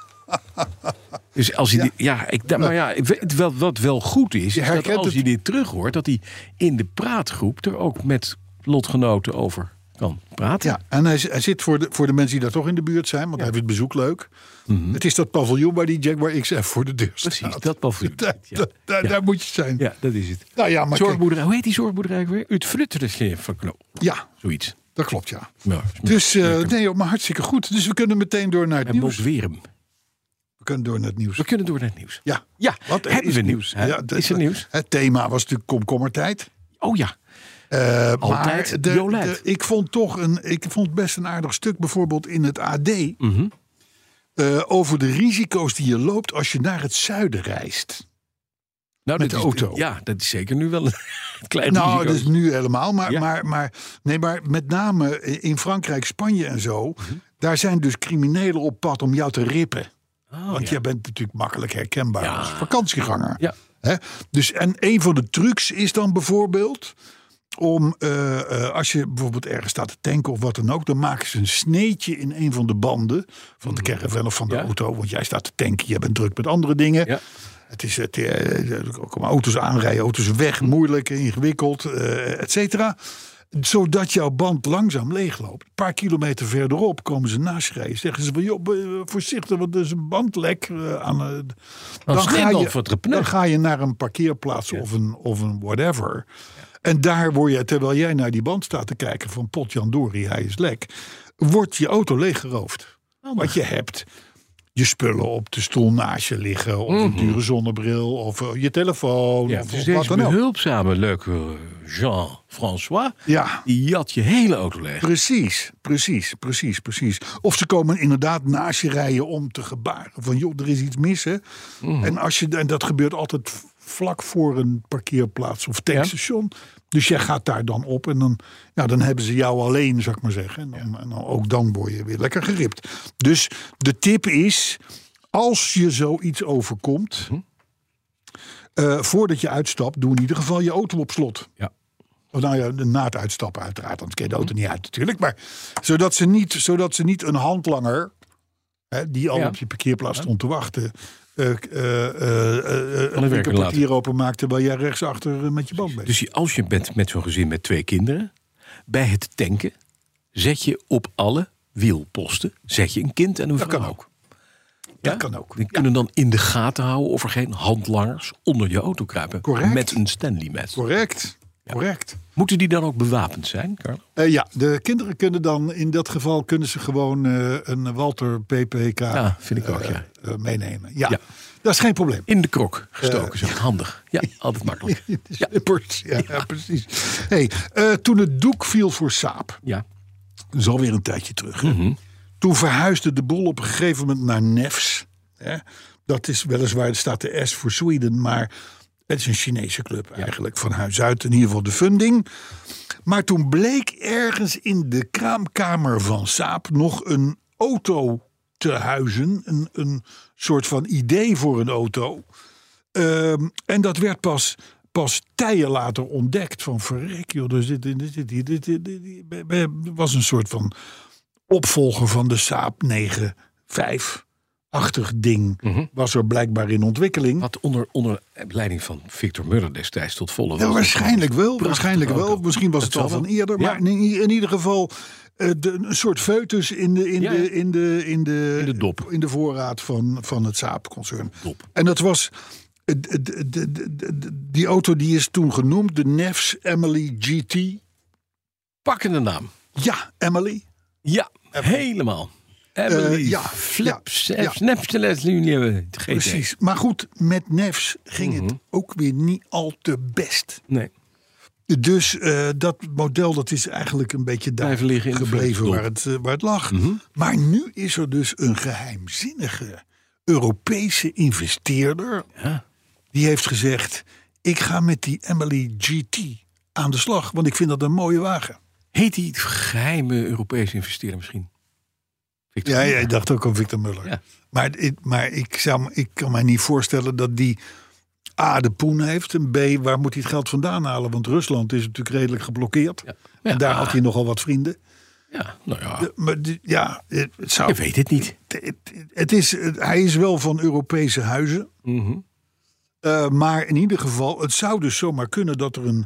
Dus als hij. dit- Ja, ik, da- maar ja, ik weet wel, wat wel goed is, is dat
herkent
als
het.
hij dit terug hoort, dat hij in de praatgroep er ook met lotgenoten over kan praten.
Ja, en hij, z- hij zit voor de, voor de mensen die daar toch in de buurt zijn, want hij vindt het bezoek leuk. Het is dat paviljoen waar die Jaguar XF voor de deur staat.
Mhm. Precies, dat paviljoen.
Daar,
Ja.
daar- daar moet je zijn.
Ja, dat is het.
Nou ja, maar kijk-
zorgboerderij, hoe heet die zorgboerderij ook weer? Het Fruttersje van Knoop.
ja,
Zoiets.
dat klopt, ja.
Ja,
Dus eh, nee, joh, maar hartstikke goed. Dus we kunnen meteen door naar het
en
nieuws.
Boswerum.
We kunnen door naar het nieuws.
We kunnen door naar het nieuws.
Ja.
Ja,
Wat er
hebben
is
we nieuws? hè?
Ja, dat-
is er nieuws?
Het thema was natuurlijk komkommertijd.
Oh ja.
Eh,
Altijd
maar de-
Jolijt.
de- ik vond toch een, ik vond best een aardig stuk bijvoorbeeld in het AD.
Mhm.
eh, over de risico's die je loopt als je naar het zuiden reist.
Nou,
Met
dat
de
is-
auto.
Ja, dat is zeker nu wel een klein
Nou,
risico.
dat is nu helemaal. Maar,
Ja.
maar, maar, nee, maar met name in Frankrijk, Spanje en zo.
Mhm.
Daar zijn dus criminelen op pad om jou te rippen. Want jij bent natuurlijk makkelijk herkenbaar
Oh, Ja.
als vakantieganger.
Ja.
Hè? Dus, en een van de trucs is dan bijvoorbeeld om, eh, eh, als je bijvoorbeeld ergens staat te tanken of wat dan ook, dan maken ze een sneetje in een van de banden van de caravan of van de
Mhm. Ja.
auto. Want jij staat te tanken, je bent druk met andere dingen.
Ja.
Het is het, eh, er komen auto's aanrijden, auto's weg, moeilijk, ingewikkeld, eh et cetera. Zodat jouw band langzaam leegloopt. Een paar kilometer verderop komen ze naschrijven. Zeggen ze van, joh, be- voorzichtig, want er is een bandlek. eh, aan, eh, dan,
sneeuw
ga
of
je,
het repneu.
dan ga je naar een parkeerplaats of, een, of een whatever. En daar word je, terwijl jij naar die band staat te kijken van potjandori, hij is lek. Wordt je auto leeggeroofd. Wat je hebt je spullen op de stoel naast je liggen. Of een dure zonnebril. Of eh, je telefoon.
Mhm. Ja,
of,
dus
of wat
deze
dan ook.
behulpzame, leuke Jean-François,
Ja,
die jat je hele auto leeg.
precies. Precies, precies, precies. Of ze komen inderdaad naast je rijden om te gebaren. Van joh, er is iets mis hè. En, als je, en dat gebeurt altijd v- vlak voor een parkeerplaats of tankstation. Dus jij gaat daar dan op en dan, ja, dan hebben ze jou alleen, zou ik maar zeggen. En, dan, en dan, ook dan word je weer lekker geript. Dus de tip is, als je zoiets overkomt... Eh, voordat je uitstapt, doe in ieder geval je auto op slot.
Ja.
Of nou ja, na het uitstappen uiteraard, want ik ken de
Mhm.
auto niet uit natuurlijk. Maar zodat ze niet, zodat ze niet een handlanger, hè, die al
Ja.
op je parkeerplaats stond te wachten... eh eh eh, eh, eh,
werk
een
laten.
portier openmaakt terwijl jij rechtsachter eh, met je band bent.
Dus je- als je bent met zo'n gezin met twee kinderen, bij het tanken zet je op alle wielposten zet je een kind en een vrouw.
kan ook.
Ja?
Dat kan ook.
Die kunnen dan in de gaten houden of er geen handlangers onder je auto kruipen.
Correct.
Met een Stanley mes.
Correct, correct.
Moeten die dan ook bewapend zijn, Carlo?
Eh, ja, de kinderen kunnen dan in dat geval kunnen ze gewoon eh, een Walter PPK
Ja, vind ik ook,
eh,
ja.
eh, meenemen. Ja.
Ja.
dat is geen probleem.
In de krok gestoken,
Eh,
zeg. Handig. Ja, altijd makkelijk.
Het is
Ja.
knippers. Ja, ja, precies. Hey, eh, toen het doek viel voor Saap,
Ja.
dat is alweer een tijdje terug. hè. Toen verhuisde de boel op een gegeven moment naar Nefs. Hè? Dat is weliswaar, er staat de S voor Sweden, maar het is een Chinese club eigenlijk van huis uit. In ieder geval de funding. Maar toen bleek ergens in de kraamkamer van Saap nog een auto te huizen. Een, een soort van idee voor een auto. Ehm, en dat werd pas, pas tijden later ontdekt. Van verrek joh, er zit, dit, dit, dit, dit, dit, dit- dit- be- be- was een soort van opvolger van de Saab 9-5-achtig ding. Was er blijkbaar in ontwikkeling.
Wat onder, onder leiding van Victor Muller destijds tot volle
Ja,
was.
waarschijnlijk wel.
Prachtig
Waarschijnlijk wel.
auto.
Misschien was
Dat
het al
zal
van
wel.
eerder.
Ja.
Maar in, in ieder geval eh, de, een soort foetus in de, in
Ja, ja.
de, in de, in de,
In de dop.
In de voorraad van, van het Saab-concern.
Dop.
En dat was. eh, d- d- d- d- d- Die auto die is toen genoemd, de Nefs Emily GT.
Pakkende naam.
Ja,
E
Emily.
Ja, helemaal. Emily,
Eh, ja,
Flips,
ja, ja.
Snapchat, jullie
Precies. Maar goed, met Nefs ging
Mhm.
het ook weer niet al te best.
Nee.
Dus eh, dat model dat is eigenlijk een beetje daar
Blijven liggen in de Mhm.
gebleven
vuilnisdop.
waar het, eh, waar het lag. Maar nu is er dus een geheimzinnige Europese investeerder.
Ja.
Die heeft gezegd, ik ga met die Emily GT aan de slag. Want ik vind dat een mooie wagen.
Heet die geheime Europese investeerder misschien? Victor
Ja, ja
Muller.
ik dacht ook aan Victor Muller.
Ja.
Maar, ik- maar ik, zou, ik kan mij niet voorstellen dat die... A, de poen heeft. En B, waar moet hij het geld vandaan halen? Want Rusland is natuurlijk redelijk geblokkeerd.
Ja.
En daar had
ah,
hij nogal wat vrienden.
Ja, nou ja,
De- maar de- ja, het het zou.
je weet het niet.
het- het- het is, het- hij is wel van Europese huizen.
Mhm.
Eh, maar in ieder geval, het zou dus zomaar kunnen dat er een.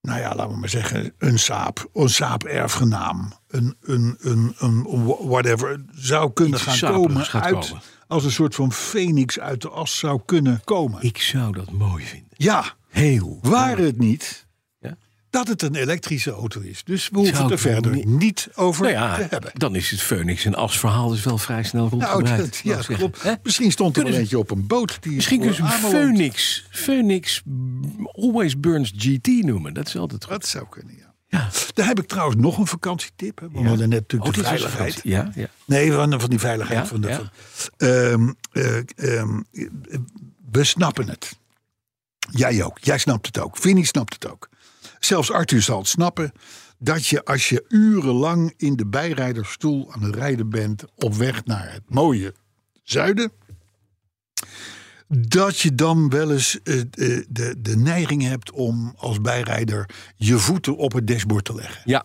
Nou ja, laten we maar zeggen, een saap, een saap-erfgenaam, een, een, een, een wha- whatever, zou kunnen
Iets
gaan
saperigs
komen,
gaat
uit,
komen.
als een soort van phoenix uit de as zou kunnen komen.
Ik zou dat mooi vinden.
Ja,
Heel.
waar het niet
Ja?
dat het een elektrische auto is. Dus we hoeven
Zou
het er
ik
verder
niet-
niet over
Nou
te
ja,
hebben.
dan is het Phoenix en As verhaal dus wel vrij snel
Nou,
rondgebreid.
dat, ja,
wou ik zeggen.
klopt.
Hè?
Misschien stond er
Kunnen
een
ze-
eentje op een boot. Die
Misschien
voor
kunnen ze hem
Ameland-
Phoenix, Phoenix mm, Always Burns GT noemen. Dat is altijd goed.
Dat zou kunnen, ja.
Ja.
Daar heb ik trouwens nog een vakantietip. Hè? We hadden net natuurlijk
Oh,
de
dit was
veiligheid.
vakantie. Ja, ja.
Nee, van, van die veiligheid.
Ja,
van de,
ja.
van- Ehm, eh, ehm, eh, we snappen het. Jij ook. Jij snapt het ook. Vinnie snapt het ook. Zelfs Arthur zal het snappen. Dat je als je urenlang in de bijrijdersstoel aan het rijden bent. op weg naar het mooie zuiden. dat je dan wel eens eh, eh, de, de neiging hebt om als bijrijder je voeten op het dashboard te leggen.
Ja.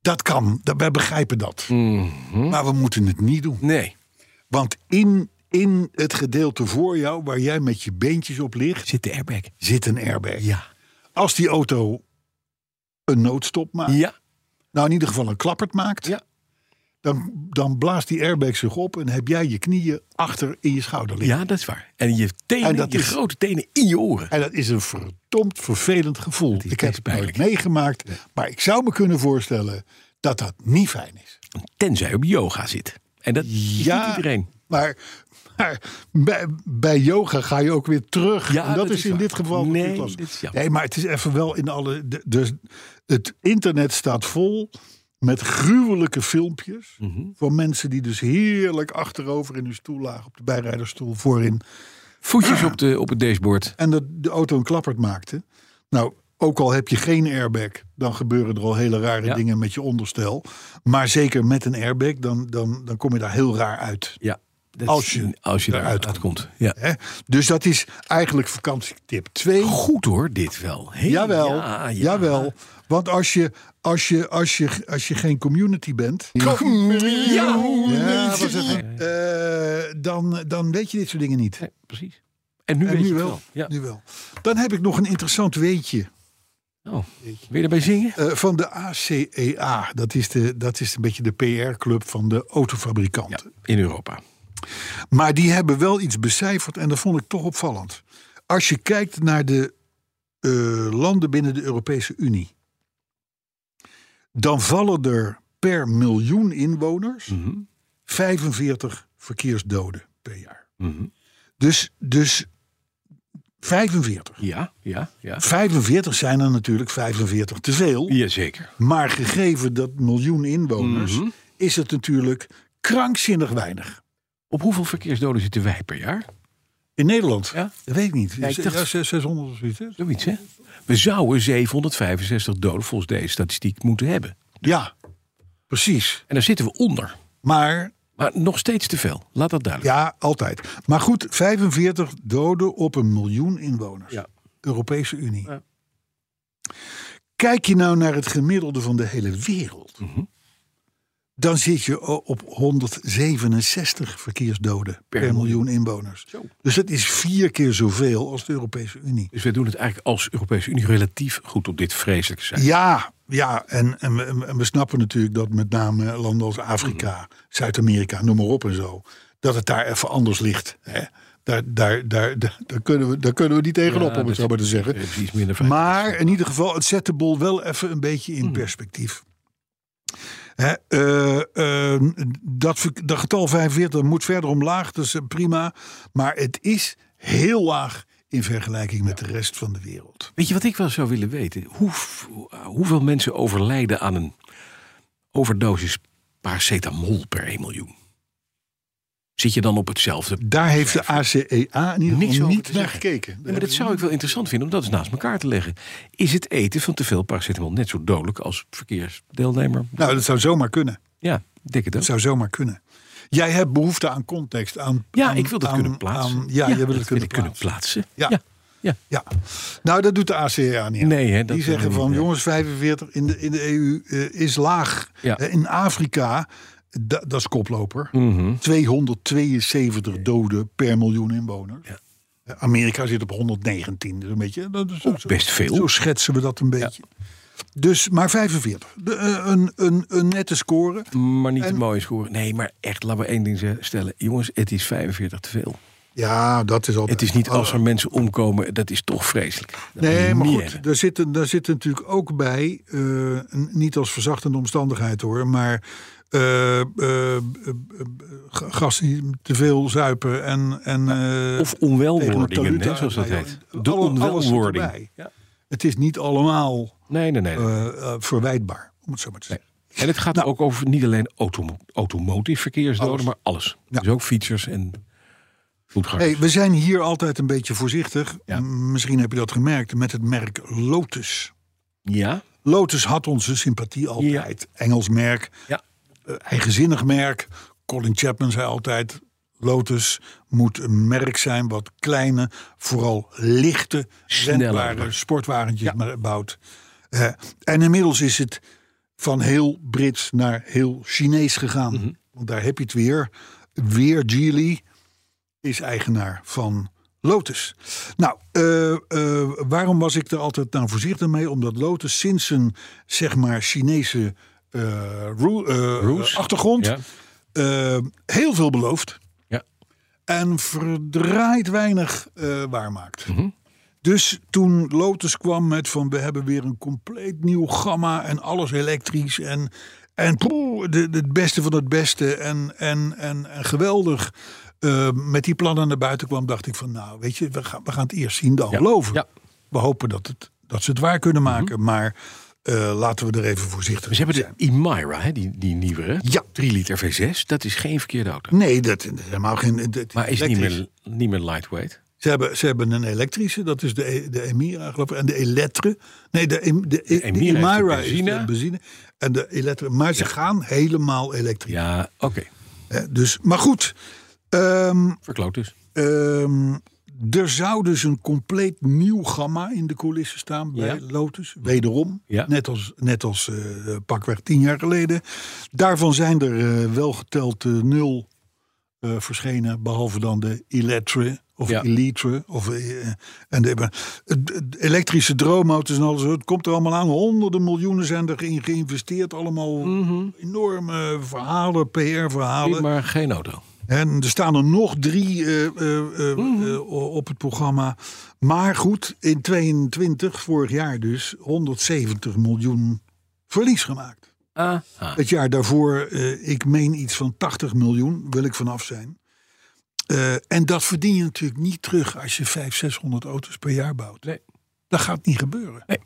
Dat kan, dat, wij begrijpen dat.
Mhm.
Maar we moeten het niet doen.
Nee.
Want in, in het gedeelte voor jou, waar jij met je beentjes op ligt,
Zit de airbag.
zit een airbag.
Ja.
Als die auto een noodstop maakt,
Ja.
nou in ieder geval een klappert maakt,
Ja.
dan, dan blaast die airbag zich op en heb jij je knieën achter in je schouder liggen.
Ja, dat is waar. En je tenen,
En dat
je
is-
grote tenen in je oren.
En dat is een verdomd vervelend gevoel.
Oh, is
Ik heb
best
het nooit
pijnlijk.
meegemaakt, maar ik zou me kunnen voorstellen dat dat niet fijn is.
Tenzij je op yoga zit. En dat is
Ja.
niet iedereen.
Maar, maar bij, bij yoga ga je ook weer terug.
Ja,
en dat,
dat
is,
is
in
waar.
dit geval
Nee,
natuurlijk lastig.
dit is jammer.
nee, maar het is even wel in alle. de- Dus het internet staat vol met gruwelijke filmpjes
Mhm.
van mensen die dus heerlijk achterover in hun stoel lagen op de bijrijdersstoel voorin
Voetjes op, de, op het dashboard.
en dat de auto een klappert maakte. Nou, ook al heb je geen airbag, dan gebeuren er al hele rare
Ja.
dingen met je onderstel. Maar zeker met een airbag, dan, dan, dan kom je daar heel raar uit.
Ja. Dat
Als
is-
je
als je
eruit
eruit komt. Ja.
Hè? Dus dat is eigenlijk vakantietip 2.
Goed hoor, dit wel. Heel-
Jawel,
ja, ja.
jawel. Want als je, als, je, als, je, als je geen community bent.
Ja.
Ja, wat is het? Eh, dan, dan weet je dit soort dingen niet.
Nee, precies. En nu
En
weet
nu
je het
wel.
wel. Ja.
Nu wel. Dan heb ik nog een interessant weetje.
Oh. Wil je daarbij zingen?
Eh, van de ACEA. Dat is, de, dat is een beetje de PR-club van de autofabrikanten.
In Europa.
Maar die hebben wel iets becijferd en dat vond ik toch opvallend. Als je kijkt naar de eh, landen binnen de Europese Unie, dan vallen er per miljoen inwoners 45 verkeersdoden per jaar. Dus, dus 45.
Ja, ja, ja.
45 zijn er natuurlijk 45 te veel.
Jazeker.
Maar gegeven dat miljoen inwoners,
Mhm.
is het natuurlijk krankzinnig weinig.
Op hoeveel verkeersdoden zitten wij per jaar?
In Nederland?
Ja.
Dat weet ik niet.
ik
Zes-
dacht-
ja, zes- 600 of zoiets. hè?
Zoiets, hè? We zouden 765 doden volgens deze statistiek moeten hebben.
Ja, precies.
En daar zitten we onder.
Maar
Maar nog steeds te veel. Laat dat duidelijk
ja, altijd. Maar goed, 45 doden op een miljoen inwoners.
Ja.
Europese Unie.
Ja.
Kijk je nou naar het gemiddelde van de hele wereld,
Mhm.
dan zit je o- op 167 verkeersdoden per, miljoen inwoners. Dus dat is vier keer zoveel als de Europese Unie.
Dus wij doen het eigenlijk als Europese Unie relatief goed op dit vreselijke zijn.
Ja, ja en, en, we- en we- en we snappen natuurlijk dat met name landen als Afrika, Zuid-Amerika, noem maar op en zo, dat het daar even anders ligt. Hè? Daar, daar, daar, daar, daar kunnen we, daar kunnen we niet tegenop, om het zo maar te zeggen.
Eh, Precies minder vijf.
Maar in ieder geval, het zet de boel wel even een beetje in perspectief. Hè, eh, eh, dat, ver- dat getal 45 moet verder omlaag, dus eh, prima. Maar het is heel laag in vergelijking met de rest van de wereld.
Weet je wat ik wel zou willen weten? Hoe, hoe- hoeveel mensen overlijden aan een overdosis paracetamol per 1 miljoen? Zit je dan op hetzelfde?
Daar heeft de ACEA in ieder
Niks
geval
over
niet
te
naar
zeggen.
gekeken.
Ja, maar dat zou ik wel interessant vinden om dat eens naast elkaar te leggen. Is het eten van te veel paracetamol net zo dodelijk als verkeersdeelnemer?
Nou, dat zou zomaar kunnen.
Ja, ik denk het ook.
Dat zou zomaar kunnen. Jij hebt behoefte aan context. Aan,
Ja,
aan-
ik wil dat
aan-
kunnen plaatsen.
aan- ja, je wil het
dat
kunnen
wil ik
plaatsen.
plaatsen.
Ja.
Ja. ja.
Ja, nou dat doet de ACA niet. aan.
Nee, hè, dat
Die zeggen
doen we
van
niet, eh. nee.
jongens 45 in de, in de EU eh, is laag.
Ja.
Eh, in Afrika, da- dat is koploper,
Mhm.
272 doden per miljoen inwoners. Eh, Amerika zit op 119, dus een beetje. Dat is, zo-
best veel.
Zo schetsen we dat een beetje. Dus maar 45. De, eh, een, een, een nette score.
Maar niet een mooie score. Nee, maar echt, laten we één ding ze- stellen. Jongens, het is 45 te veel.
Ja, dat is altijd.
Het is niet
Oh,
als er mensen omkomen, dat is toch vreselijk. Dat moet
Nee,
je
maar
niet
goed,
hebben.
daar zitten, daar zitten natuurlijk ook bij, eh, n- niet als verzachtende omstandigheid hoor, maar eh, eh, eh, eh, g- gasten die te veel zuipen en... en eh,
Of
tegen de
onwelwordingen,
taluut
hè, zoals dat
aanrijden.
heet. De
Alle- alles zit
onwelwording.
erbij. Het is niet allemaal
Nee, nee, nee. nee.
eh, eh, verwijtbaar, om het zo maar te zeggen.
En het
Nou.
gaat ook over niet alleen automo automotive verkeersdoden, maar alles. Dus ook fietsers en voetgangers.
Hey, we zijn hier altijd een beetje voorzichtig,
Ja.
M- misschien heb je dat gemerkt, met het merk Lotus.
ja,
Lotus had onze sympathie altijd. Engels merk,
ja,
eh, eigenzinnig merk. Colin Chapman zei altijd: Lotus moet een merk zijn wat kleine, vooral lichte,
Snelle.
rendbare sportwagentjes ma- bouwt. Eh, en inmiddels is het van heel Brits naar heel Chinees gegaan. Want daar heb je het weer. Weer Geely is eigenaar van Lotus. Nou, eh, eh, waarom was ik er altijd nou voorzichtig mee? Omdat Lotus sinds een, zeg maar, Chinese eh, roe- eh,
Roes.
achtergrond
Ja.
eh, heel veel belooft
Ja.
en verdraaid weinig eh, waarmaakt.
Mhm.
Dus toen Lotus kwam met van we hebben weer een compleet nieuw gamma en alles elektrisch en, en poeh, de, de- het beste van het beste en, en, en, en geweldig. eh, met die plannen naar buiten kwam, dacht ik van nou weet je, we gaan, we gaan het eerst zien dan
Ja.
geloven.
Ja.
We hopen dat, het, dat ze het waar kunnen maken, maar eh, laten we er even voorzichtig
Ze hebben
mee
de
zijn.
Imyra, hè, die, die nieuwere.
Ja.
3 liter V6, dat is geen verkeerde auto.
Nee, dat, dat is helemaal geen... dat-
Maar is niet
elektrisch.
meer, niet meer lightweight.
Ze hebben, ze hebben een elektrische, dat is de, E- de Emira, geloof ik. En de Elettre. Nee, de, Em- de, de,
Emira is de
Emira is
benzine.
de benzine. En de Elettre. Maar ze gaan helemaal elektrisch.
Ja, oké.
Hè, Dus, maar goed, ehm,
Verkloot dus.
ehm, er zou dus een compleet nieuw gamma in de coulissen staan bij
Ja.
Lotus. Wederom,
Ja.
net als, net als eh, pakweg tien jaar geleden. Daarvan zijn er eh, wel geteld eh, nul eh, verschenen, behalve dan de Electre of
Ja.
Elitre. Of, eh, en de, het- het elektrische droomauto's en alles, het komt er allemaal aan. Honderden miljoenen zijn erin geïnvesteerd. Allemaal
Mhm.
enorme verhalen, PR-verhalen.
Maar geen auto.
En er staan er nog drie eh, eh, eh,
Mm-hmm.
eh, op het programma. Maar goed, in 22, vorig jaar dus, 170 miljoen verlies gemaakt.
Ah,
Het jaar daarvoor, eh, ik meen iets van 80 miljoen, wil ik vanaf zijn. Eh, en dat verdien je natuurlijk niet terug als je 500, 600 auto's per jaar bouwt.
Nee.
Dat gaat niet gebeuren.
Nee.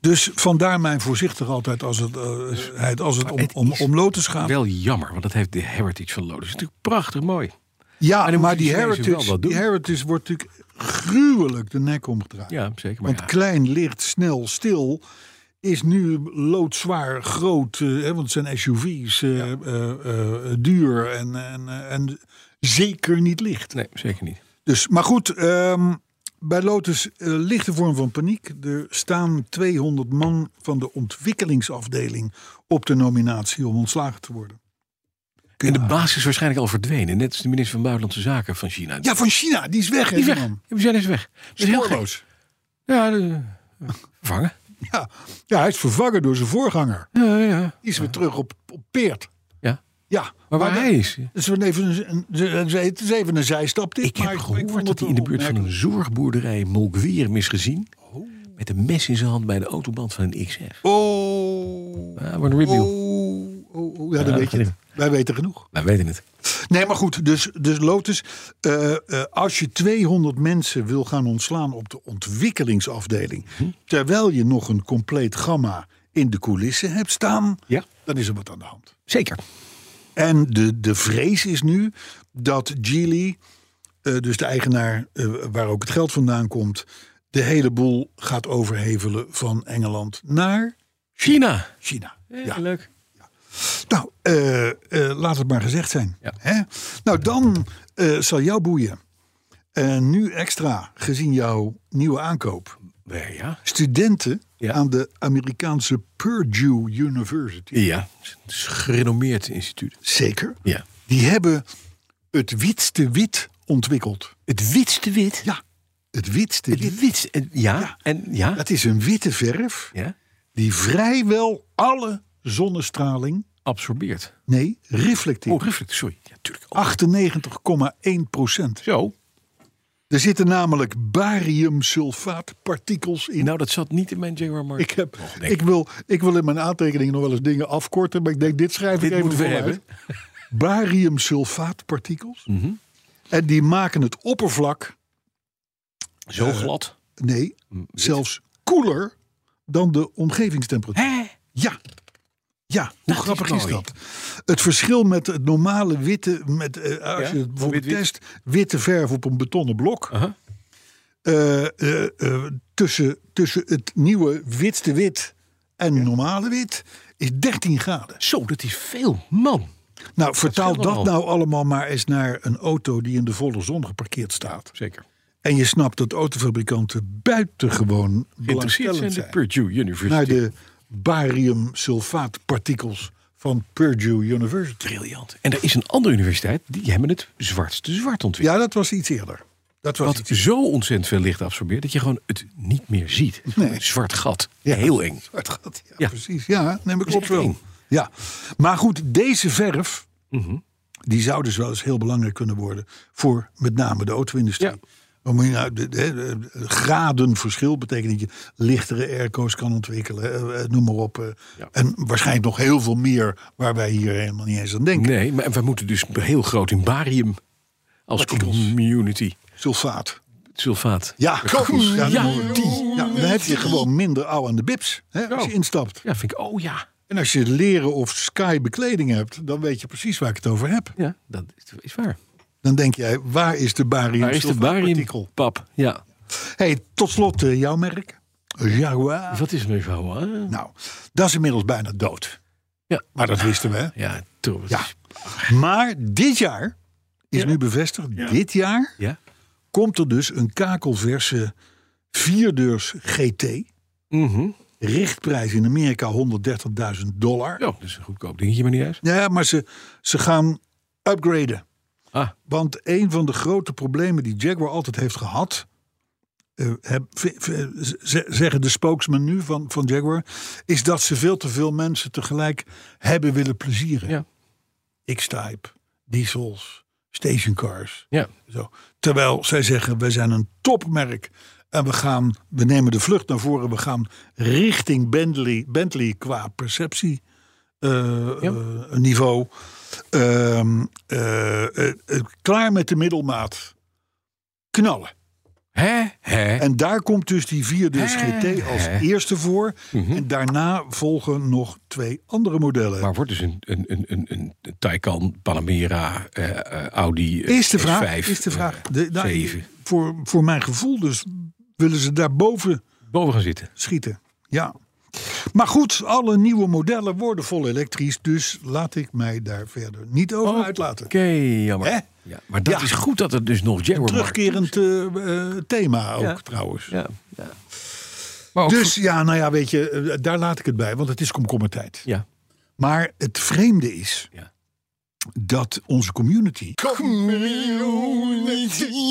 Dus vandaar mijn voorzichtig altijd als het, eh, als het, om,
Dus- het
om,
is
om lotus gaat.
Ah. Wel jammer, want dat heeft de heritage van Lotus. natuurlijk prachtig mooi.
Ja,
Maar dan
maar,
moeten
die,
die Chinezen wel
heritage,
wat doen.
die heritage wordt natuurlijk gruwelijk de nek omgedraaid.
Ja, zeker. Maar
Want
ja.
klein, licht, snel, stil is nu loodzwaar, groot. eh, hè, want het zijn SUV's, eh, eh, eh, duur en, en, eh, en zeker niet licht.
Nee, zeker niet.
Dus, maar goed, ehm, bij Lotus eh, lichte vorm van paniek. Er staan 200 man van de ontwikkelingsafdeling op de nominatie om ontslagen te worden.
En de baas is waarschijnlijk al verdwenen. Net als de minister van Buitenlandse Zaken van China.
Ja, van China, die is weg. hè,
die is
die
weg.
man.
Die zijn eens weg. Dat is heel gek.
Spoorloos.
Ja, de- eh, vervangen.
Ja. ja, hij is vervangen door zijn voorganger.
Ja, ja.
Die is weer terug op, op Peert.
ja.
Ja,
Maar waar
dat-
hij is.
Het is, wel even een, een- het is even een zijstap. Dit,
Ik heb
maar
gehoord
vond
dat
het
hij in de
wel
buurt van een zorgboerderij Molkweer is gezien.
Oh.
Met een mes in zijn hand bij de autoband van een XF.
opmerkelijk.
Ja, wordt Ah, een review.
Oh, oh, oh, ja, dan
Ja,
weet je het. Wij weten genoeg.
Wij weten Nou, het.
Nee, maar goed, dus, dus Lotus, eh, eh, als je 200 mensen wil gaan ontslaan op de ontwikkelingsafdeling,
Mhm.
terwijl je nog een compleet gamma in de coulissen hebt staan,
Ja.
dan is er wat aan de hand.
Zeker.
En de, de vrees is nu dat Geely, eh, dus de eigenaar eh, waar ook het geld vandaan komt, de hele boel gaat overhevelen van Engeland naar
China.
China.
Ja.
Ja.
Leuk.
Nou, eh, eh, laat het maar gezegd zijn.
Ja.
Hè? Nou, dan eh, zal jou boeien. En nu extra, gezien jouw nieuwe aankoop.
Eh, Ja.
Studenten
Ja.
aan de Amerikaanse Purdue University.
Ja. Het is een dus gerenommeerd instituut.
Zeker.
Ja.
Die hebben het witste wit ontwikkeld.
Het witste wit.
Ja, het witste
Het
wit.
witste. en- Ja.
Ja.
En ja.
Dat is een witte verf
Ja.
die vrijwel alle zonnestraling,
Absorbeert.
nee, reflecteert.
Oh, reflect. Sorry. Ja, tuurlijk.
Ah.
Oh,
98,1 procent.
Zo.
Er zitten namelijk bariumsulfaatpartikels in.
Nou, dat zat niet in mijn Jaguar Oh, Mark.
ik, heb,
Nog, denk
ik, wil, ik wil in mijn aantekeningen nog wel eens dingen afkorten, maar ik denk, dit schrijf
Dit
ik even
moeten we
voluit.
hebben. Mhm.
Bariumsulfaatpartikels. En die maken het oppervlak
Zo glad.
Nee, zelfs koeler dan de omgevingstemperatuur.
Hè? Nou,
Ja. Ja, hoe
Dat is
grappig is,
mooi.
dat? Het verschil met het normale witte, met, eh, als
Ja,
je het bijvoorbeeld
wit-wit.
test, witte verf op een betonnen blok.
Aha.
eh, eh, eh, tussen, tussen het nieuwe witste wit en normale wit is 13 graden.
Zo, dat is veel. Man.
Nou, vertaal
scheelt
dat,
nogal.
nou allemaal maar eens naar een auto die in de volle zon geparkeerd staat.
Zeker.
En je snapt dat autofabrikanten buitengewoon
Geïnteresseerd zijn
belangstellend
de
zijn.
Purdue University.
Naar Nou, de bariumsulfaatpartikels van Purdue University.
Briljant. En er is een andere universiteit, die hebben het zwartste zwart ontwikkeld.
Ja, dat was iets eerder. Dat was
Wat
iets
zo ontzettend veel licht absorbeert dat je gewoon het niet meer ziet.
Nee.
Een zwart gat.
Ja.
Heel eng.
Het gaat, ja,
Ja.
precies. Ja, neem ik
is
klopt
echt
wel.
eng.
Ja. Maar goed, deze verf,
Mhm.
die zou dus wel eens heel belangrijk kunnen worden voor met name de auto-industrie.
Ja.
Dan moet je nou, de, de- de- de- graden verschil betekent dat je lichtere airco's kan ontwikkelen, eh, eh, noem maar op. eh.
Ja.
En waarschijnlijk nog heel veel meer waar wij hier helemaal niet eens aan denken.
Nee, maar we moeten dus heel groot in barium als community.
Sulfaat.
Sulfaat.
Ja,
Kogels.
Ja,
Ja,
dan- ja, dan heb je gewoon minder ouw aan de bips hè, als je
Zo.
instapt.
Ja, vind ik, oh ja.
En als je leren of sky bekleding hebt, dan weet je precies waar ik het over heb.
Ja, dat is, is waar.
Dan denk jij, waar is de barium?
Waar is de barium?
sulfaatpartikel?
Pap, ja.
hey, tot slot eh, jouw merk. Jaguar.
Wat is het nu zo? hè?
Nou, dat is inmiddels bijna dood.
Ja.
Maar dat wisten we. hè?
Ja, toch.
Ja. Maar dit jaar is nu bevestigd. Dit jaar
Ja?
komt er dus een kakelverse vierdeurs GT.
Mhm.
Richtprijs in Amerika 130.000 dollar.
Ja, dat is een goedkoop dingetje, maar niet uit.
Ja, maar ze, ze gaan upgraden.
Ah.
Want een van de grote problemen die Jaguar altijd heeft gehad. eh, heb- v- v- z- zeggen de spokesman nu van, van Jaguar. is dat ze veel te veel mensen tegelijk hebben willen plezieren.
Ja.
X-Type, diesels, stationcars.
Ja.
Zo. Terwijl zij zeggen: wij zijn een topmerk. En we, gaan, we nemen de vlucht naar voren. We gaan richting Bentley, Bentley qua perceptie eh,
Ja.
eh, niveau. Ehm, eh, eh, eh, klaar met de middelmaat. Knallen.
Hè? Hè?
En daar komt dus die vierde GT als
Hè? Mhm.
eerste voor. En daarna volgen nog twee andere modellen.
Maar wordt dus een, een, een, een, een Taycan, Panamera, eh, eh, Audi eh,
is de vraag.
S5,
is de
eh,
vraag de, nou,
7.
voor, voor mijn gevoel dus willen ze daarboven
Boven gaan zitten.
schieten. Ja. Maar goed, alle nieuwe modellen worden vol elektrisch. Dus laat ik mij daar verder niet over uitlaten.
Oké, jammer.
Hè?
Ja, maar dat
Ja.
is goed dat het dus nog Jaguar
Terugkerend eh, eh, thema ook
Ja.
trouwens.
Ja, ja. Maar ook
Dus ja, nou ja, weet je, eh, daar laat ik het bij, want het is komkommertijd.
Ja.
Maar het vreemde is
Ja.
dat onze community.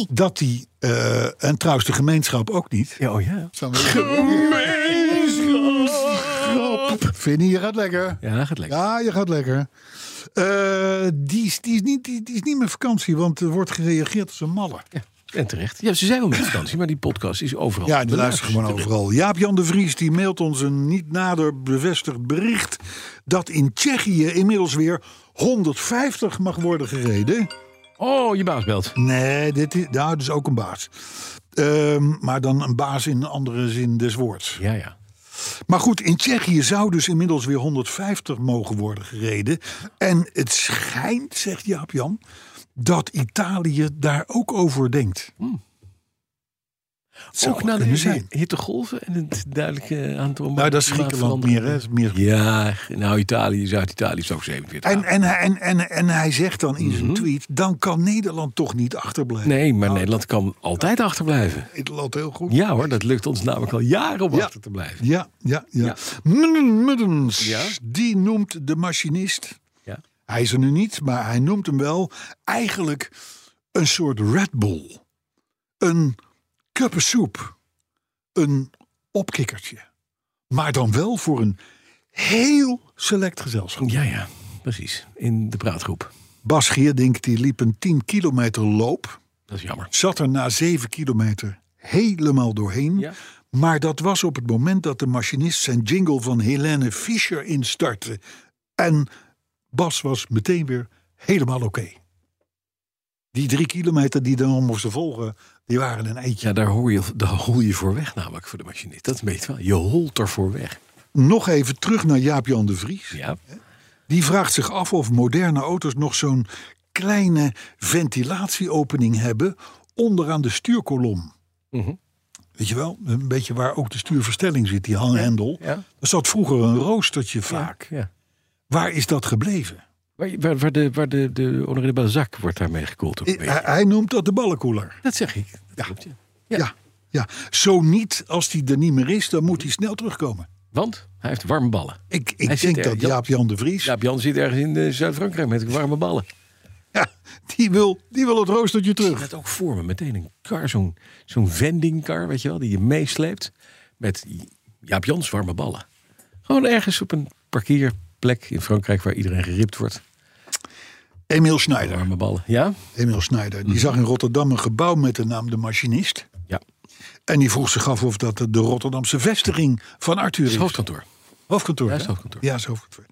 Dat die, eh, en trouwens de gemeenschap ook niet.
ja, oh ja.
Vinnie, je gaat lekker.
Ja, gaat lekker.
Ja, je gaat lekker. Eh, die, is, die, is niet, die, die is niet meer vakantie, want er wordt gereageerd als een malle.
Ja. En terecht. Ja, ze zijn wel met vakantie, maar die podcast is overal.
Ja,
te
die luisteren gewoon
beluisteren.
overal. Jaap-Jan de Vries die mailt ons een niet nader bevestigd bericht... dat in Tsjechië inmiddels weer 150 mag worden gereden.
Oh, je baas belt.
Nee, dit is, nou, dat is ook een baas. Ehm, maar dan een baas in een andere zin des woords.
Ja, ja.
Maar goed, in Tsjechië zou dus inmiddels weer 150 mogen worden gereden. En het schijnt, zegt Jaap-Jan, dat Italië daar ook over denkt.
Hmm.
Het zou
Ook na
kunnen
de
zijn.
hittegolven en het duidelijke aantal...
Nou, dat is Griekenland meer, hè? Dat is meer
Ja, nou, Italië, Zuid-Italië is ook 47
En,
graden.
en, hij- en, en, en hij zegt dan in zijn tweet: dan kan Nederland toch niet achterblijven.
Mhm. Nee, maar Nederland kan altijd achterblijven.
Nederland heel goed.
Ja hoor, dat lukt ons namelijk al jaren om
Ja.
achter te blijven.
Ja, ja, ja.
Ja.
Muddens, Muddens,
Ja?
die noemt de machinist.
Ja.
Hij is er nu niet, maar hij noemt hem wel eigenlijk een soort Red Bull. Een kuppensoep. Een opkikkertje. Maar dan wel voor een heel select gezelschap.
Ja, ja, precies. In de praatgroep.
Bas Geerdink die liep een 10 kilometer loop.
Dat is jammer.
zat er na zeven kilometer helemaal doorheen.
Ja.
Maar dat was op het moment dat de machinist zijn jingle van Helene Fischer instartte. En Bas was meteen weer helemaal oké. Die drie kilometer die dan moesten volgen, die waren een eitje.
Ja, daar hoor je, daar hol je voor weg namelijk voor de machinist. Dat weet je wel. Je holt er voor weg.
Nog even terug naar Jaap-Jan de Vries.
Ja.
Die vraagt zich af of moderne auto's nog zo'n kleine ventilatieopening hebben onderaan de stuurkolom.
Mhm.
Weet je wel, een beetje waar ook de stuurverstelling zit, die hanghendel.
Ja.
Er zat vroeger een roostertje vaak.
Ja.
Waar is dat gebleven?
Waar, waar, waar de, waar de, de Honoré de Balzac wordt daarmee gekoeld. ook een
Hij,
beetje.
hij noemt dat de ballenkoeler.
Dat zeg ik. Dat klopt, Eh, ja.
Ja. ja. Zo niet, als die er niet meer is, dan moet hij snel terugkomen.
Want hij heeft warme ballen.
Ik, ik
zit
denk
er,
dat
Jan-
Jaap-Jan de Vries,
Jaap Jan zit ergens in eh, Zuid-Frankrijk met warme ballen.
ja, die, wil, die wil het roostertje
Ik
terug.
had ook voor me meteen een kar, zo'n zo'n vendingkar, weet je wel, die je meesleept. Met Jaap Jans warme ballen. Gewoon ergens op een parkeerplek in Frankrijk waar iedereen geript wordt.
Emiel Schneider.
Warme ballen. Ja?
Emiel Schneider,
Mhm.
die zag in Rotterdam een gebouw met de naam De Machinist.
Ja.
En die vroeg zich af of dat de Rotterdamse vestiging van Arthur
Het
is.
is hoofdkantoor.
Hoofdkantoor.
Ja, is
hè?
hoofdkantoor.
Ja, is hoofdkantoor.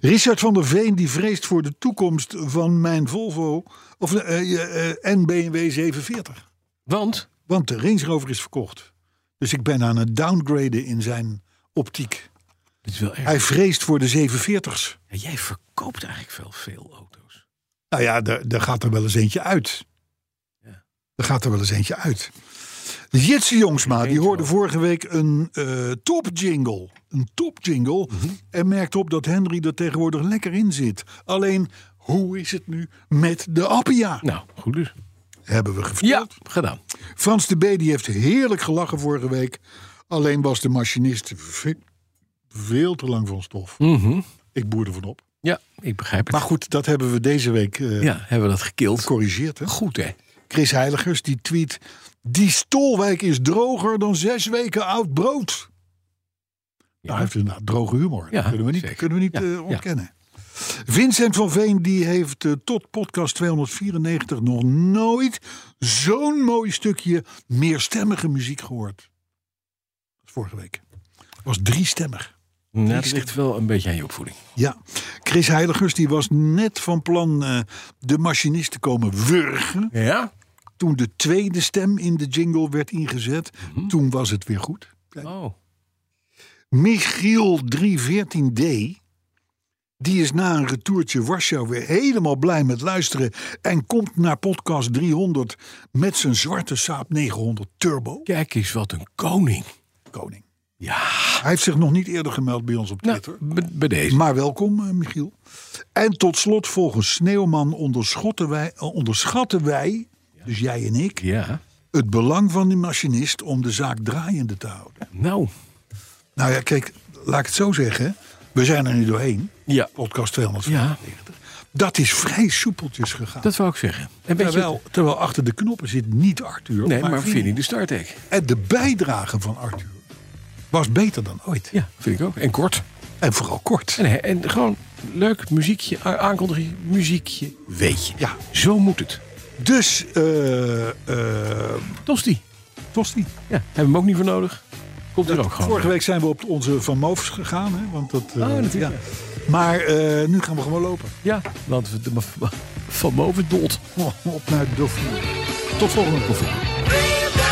Richard van der Veen die vreest voor de toekomst van mijn Volvo of, eh, eh, eh, en BMW 740.
Want
Want de Range Rover is verkocht. Dus ik ben aan het downgraden in zijn optiek.
dit is wel erg.
Hij vreest voor de 740's.
Ja, jij verkoopt eigenlijk wel veel auto's.
Nou ja, daar daar gaat er wel eens eentje uit.
Ja.
Er gaat er wel eens eentje uit. Jitse Jongsma, die hoorde vorige week een eh topjingle. Een topjingle.
Mhm.
En merkte op dat Henry er tegenwoordig lekker in zit. Alleen, hoe is het nu met de Appia?
Nou, goed dus.
Hebben we gevraagd.
Ja, gedaan.
Frans de B. die heeft heerlijk gelachen vorige week. Alleen was de machinist ve- veel te lang van stof. Ik boerde van op.
Mhm. Ja, ik begrijp het.
Maar goed, dat hebben we deze week eh
ja, hebben we dat gekild.
gecorrigeerd. Hè?
Goed, hè?
Chris Heiligers die tweet... Die Stolwijk is droger dan zes weken oud brood. Nou, hij heeft inderdaad droge humor.
Ja,
dat kunnen we niet,
zeker.
kunnen we niet
Ja,
eh,
ja.
ontkennen. Vincent van Veen die heeft eh, tot podcast 294 nog nooit zo'n mooi stukje meerstemmige muziek gehoord. Dat is vorige week. was driestemmig.
Nou, dat ligt wel een beetje aan je opvoeding.
Ja, Chris Heiligers die was net van plan eh, de machinist te komen wurgen.
Ja?
Toen de tweede stem in de jingle werd ingezet,
Mhm.
toen was het weer goed.
Oh.
Michiel 314D, die is na een retourtje Warschau weer helemaal blij met luisteren en komt naar podcast 300 met zijn zwarte Saab 900 Turbo
Kijk eens wat een koning.
Koning.
Ja.
Hij heeft zich nog niet eerder gemeld bij ons op Twitter.
Nou, be- bij deze.
Maar welkom, eh, Michiel. En tot slot, volgens Sneeuwman onderschotten wij, eh, onderschatten wij, dus jij en ik,
Ja.
het belang van de machinist om de zaak draaiende te houden.
Nou.
Nou ja, kijk, laat ik het zo zeggen. We zijn er nu doorheen.
Ja.
Podcast 200.
Ja,
Dat is vrij soepeltjes gegaan.
dat wou ik zeggen. En weet je,
terwijl, terwijl achter de knoppen zit niet Arthur.
nee, maar
Vinnie.
Vinnie de Startek.
En de bijdrage van Arthur was beter dan ooit.
Ja, vind ik ook. En kort.
En vooral kort.
En, en gewoon leuk muziekje, a- aankondiging, muziekje, weet je.
Ja.
Zo moet het.
Dus, eh eh
Tosti.
Tosti.
Ja, hebben we hem ook niet voor nodig. Komt er ook gewoon.
Vorige week zijn we op onze Van Moofs gegaan. Hè? Want dat, eh,
Ah, natuurlijk.
Maar eh, nu gaan we gewoon lopen.
Ja, want we- de- van boven dood.
Op naar de Dauphine. Tot volgende keer.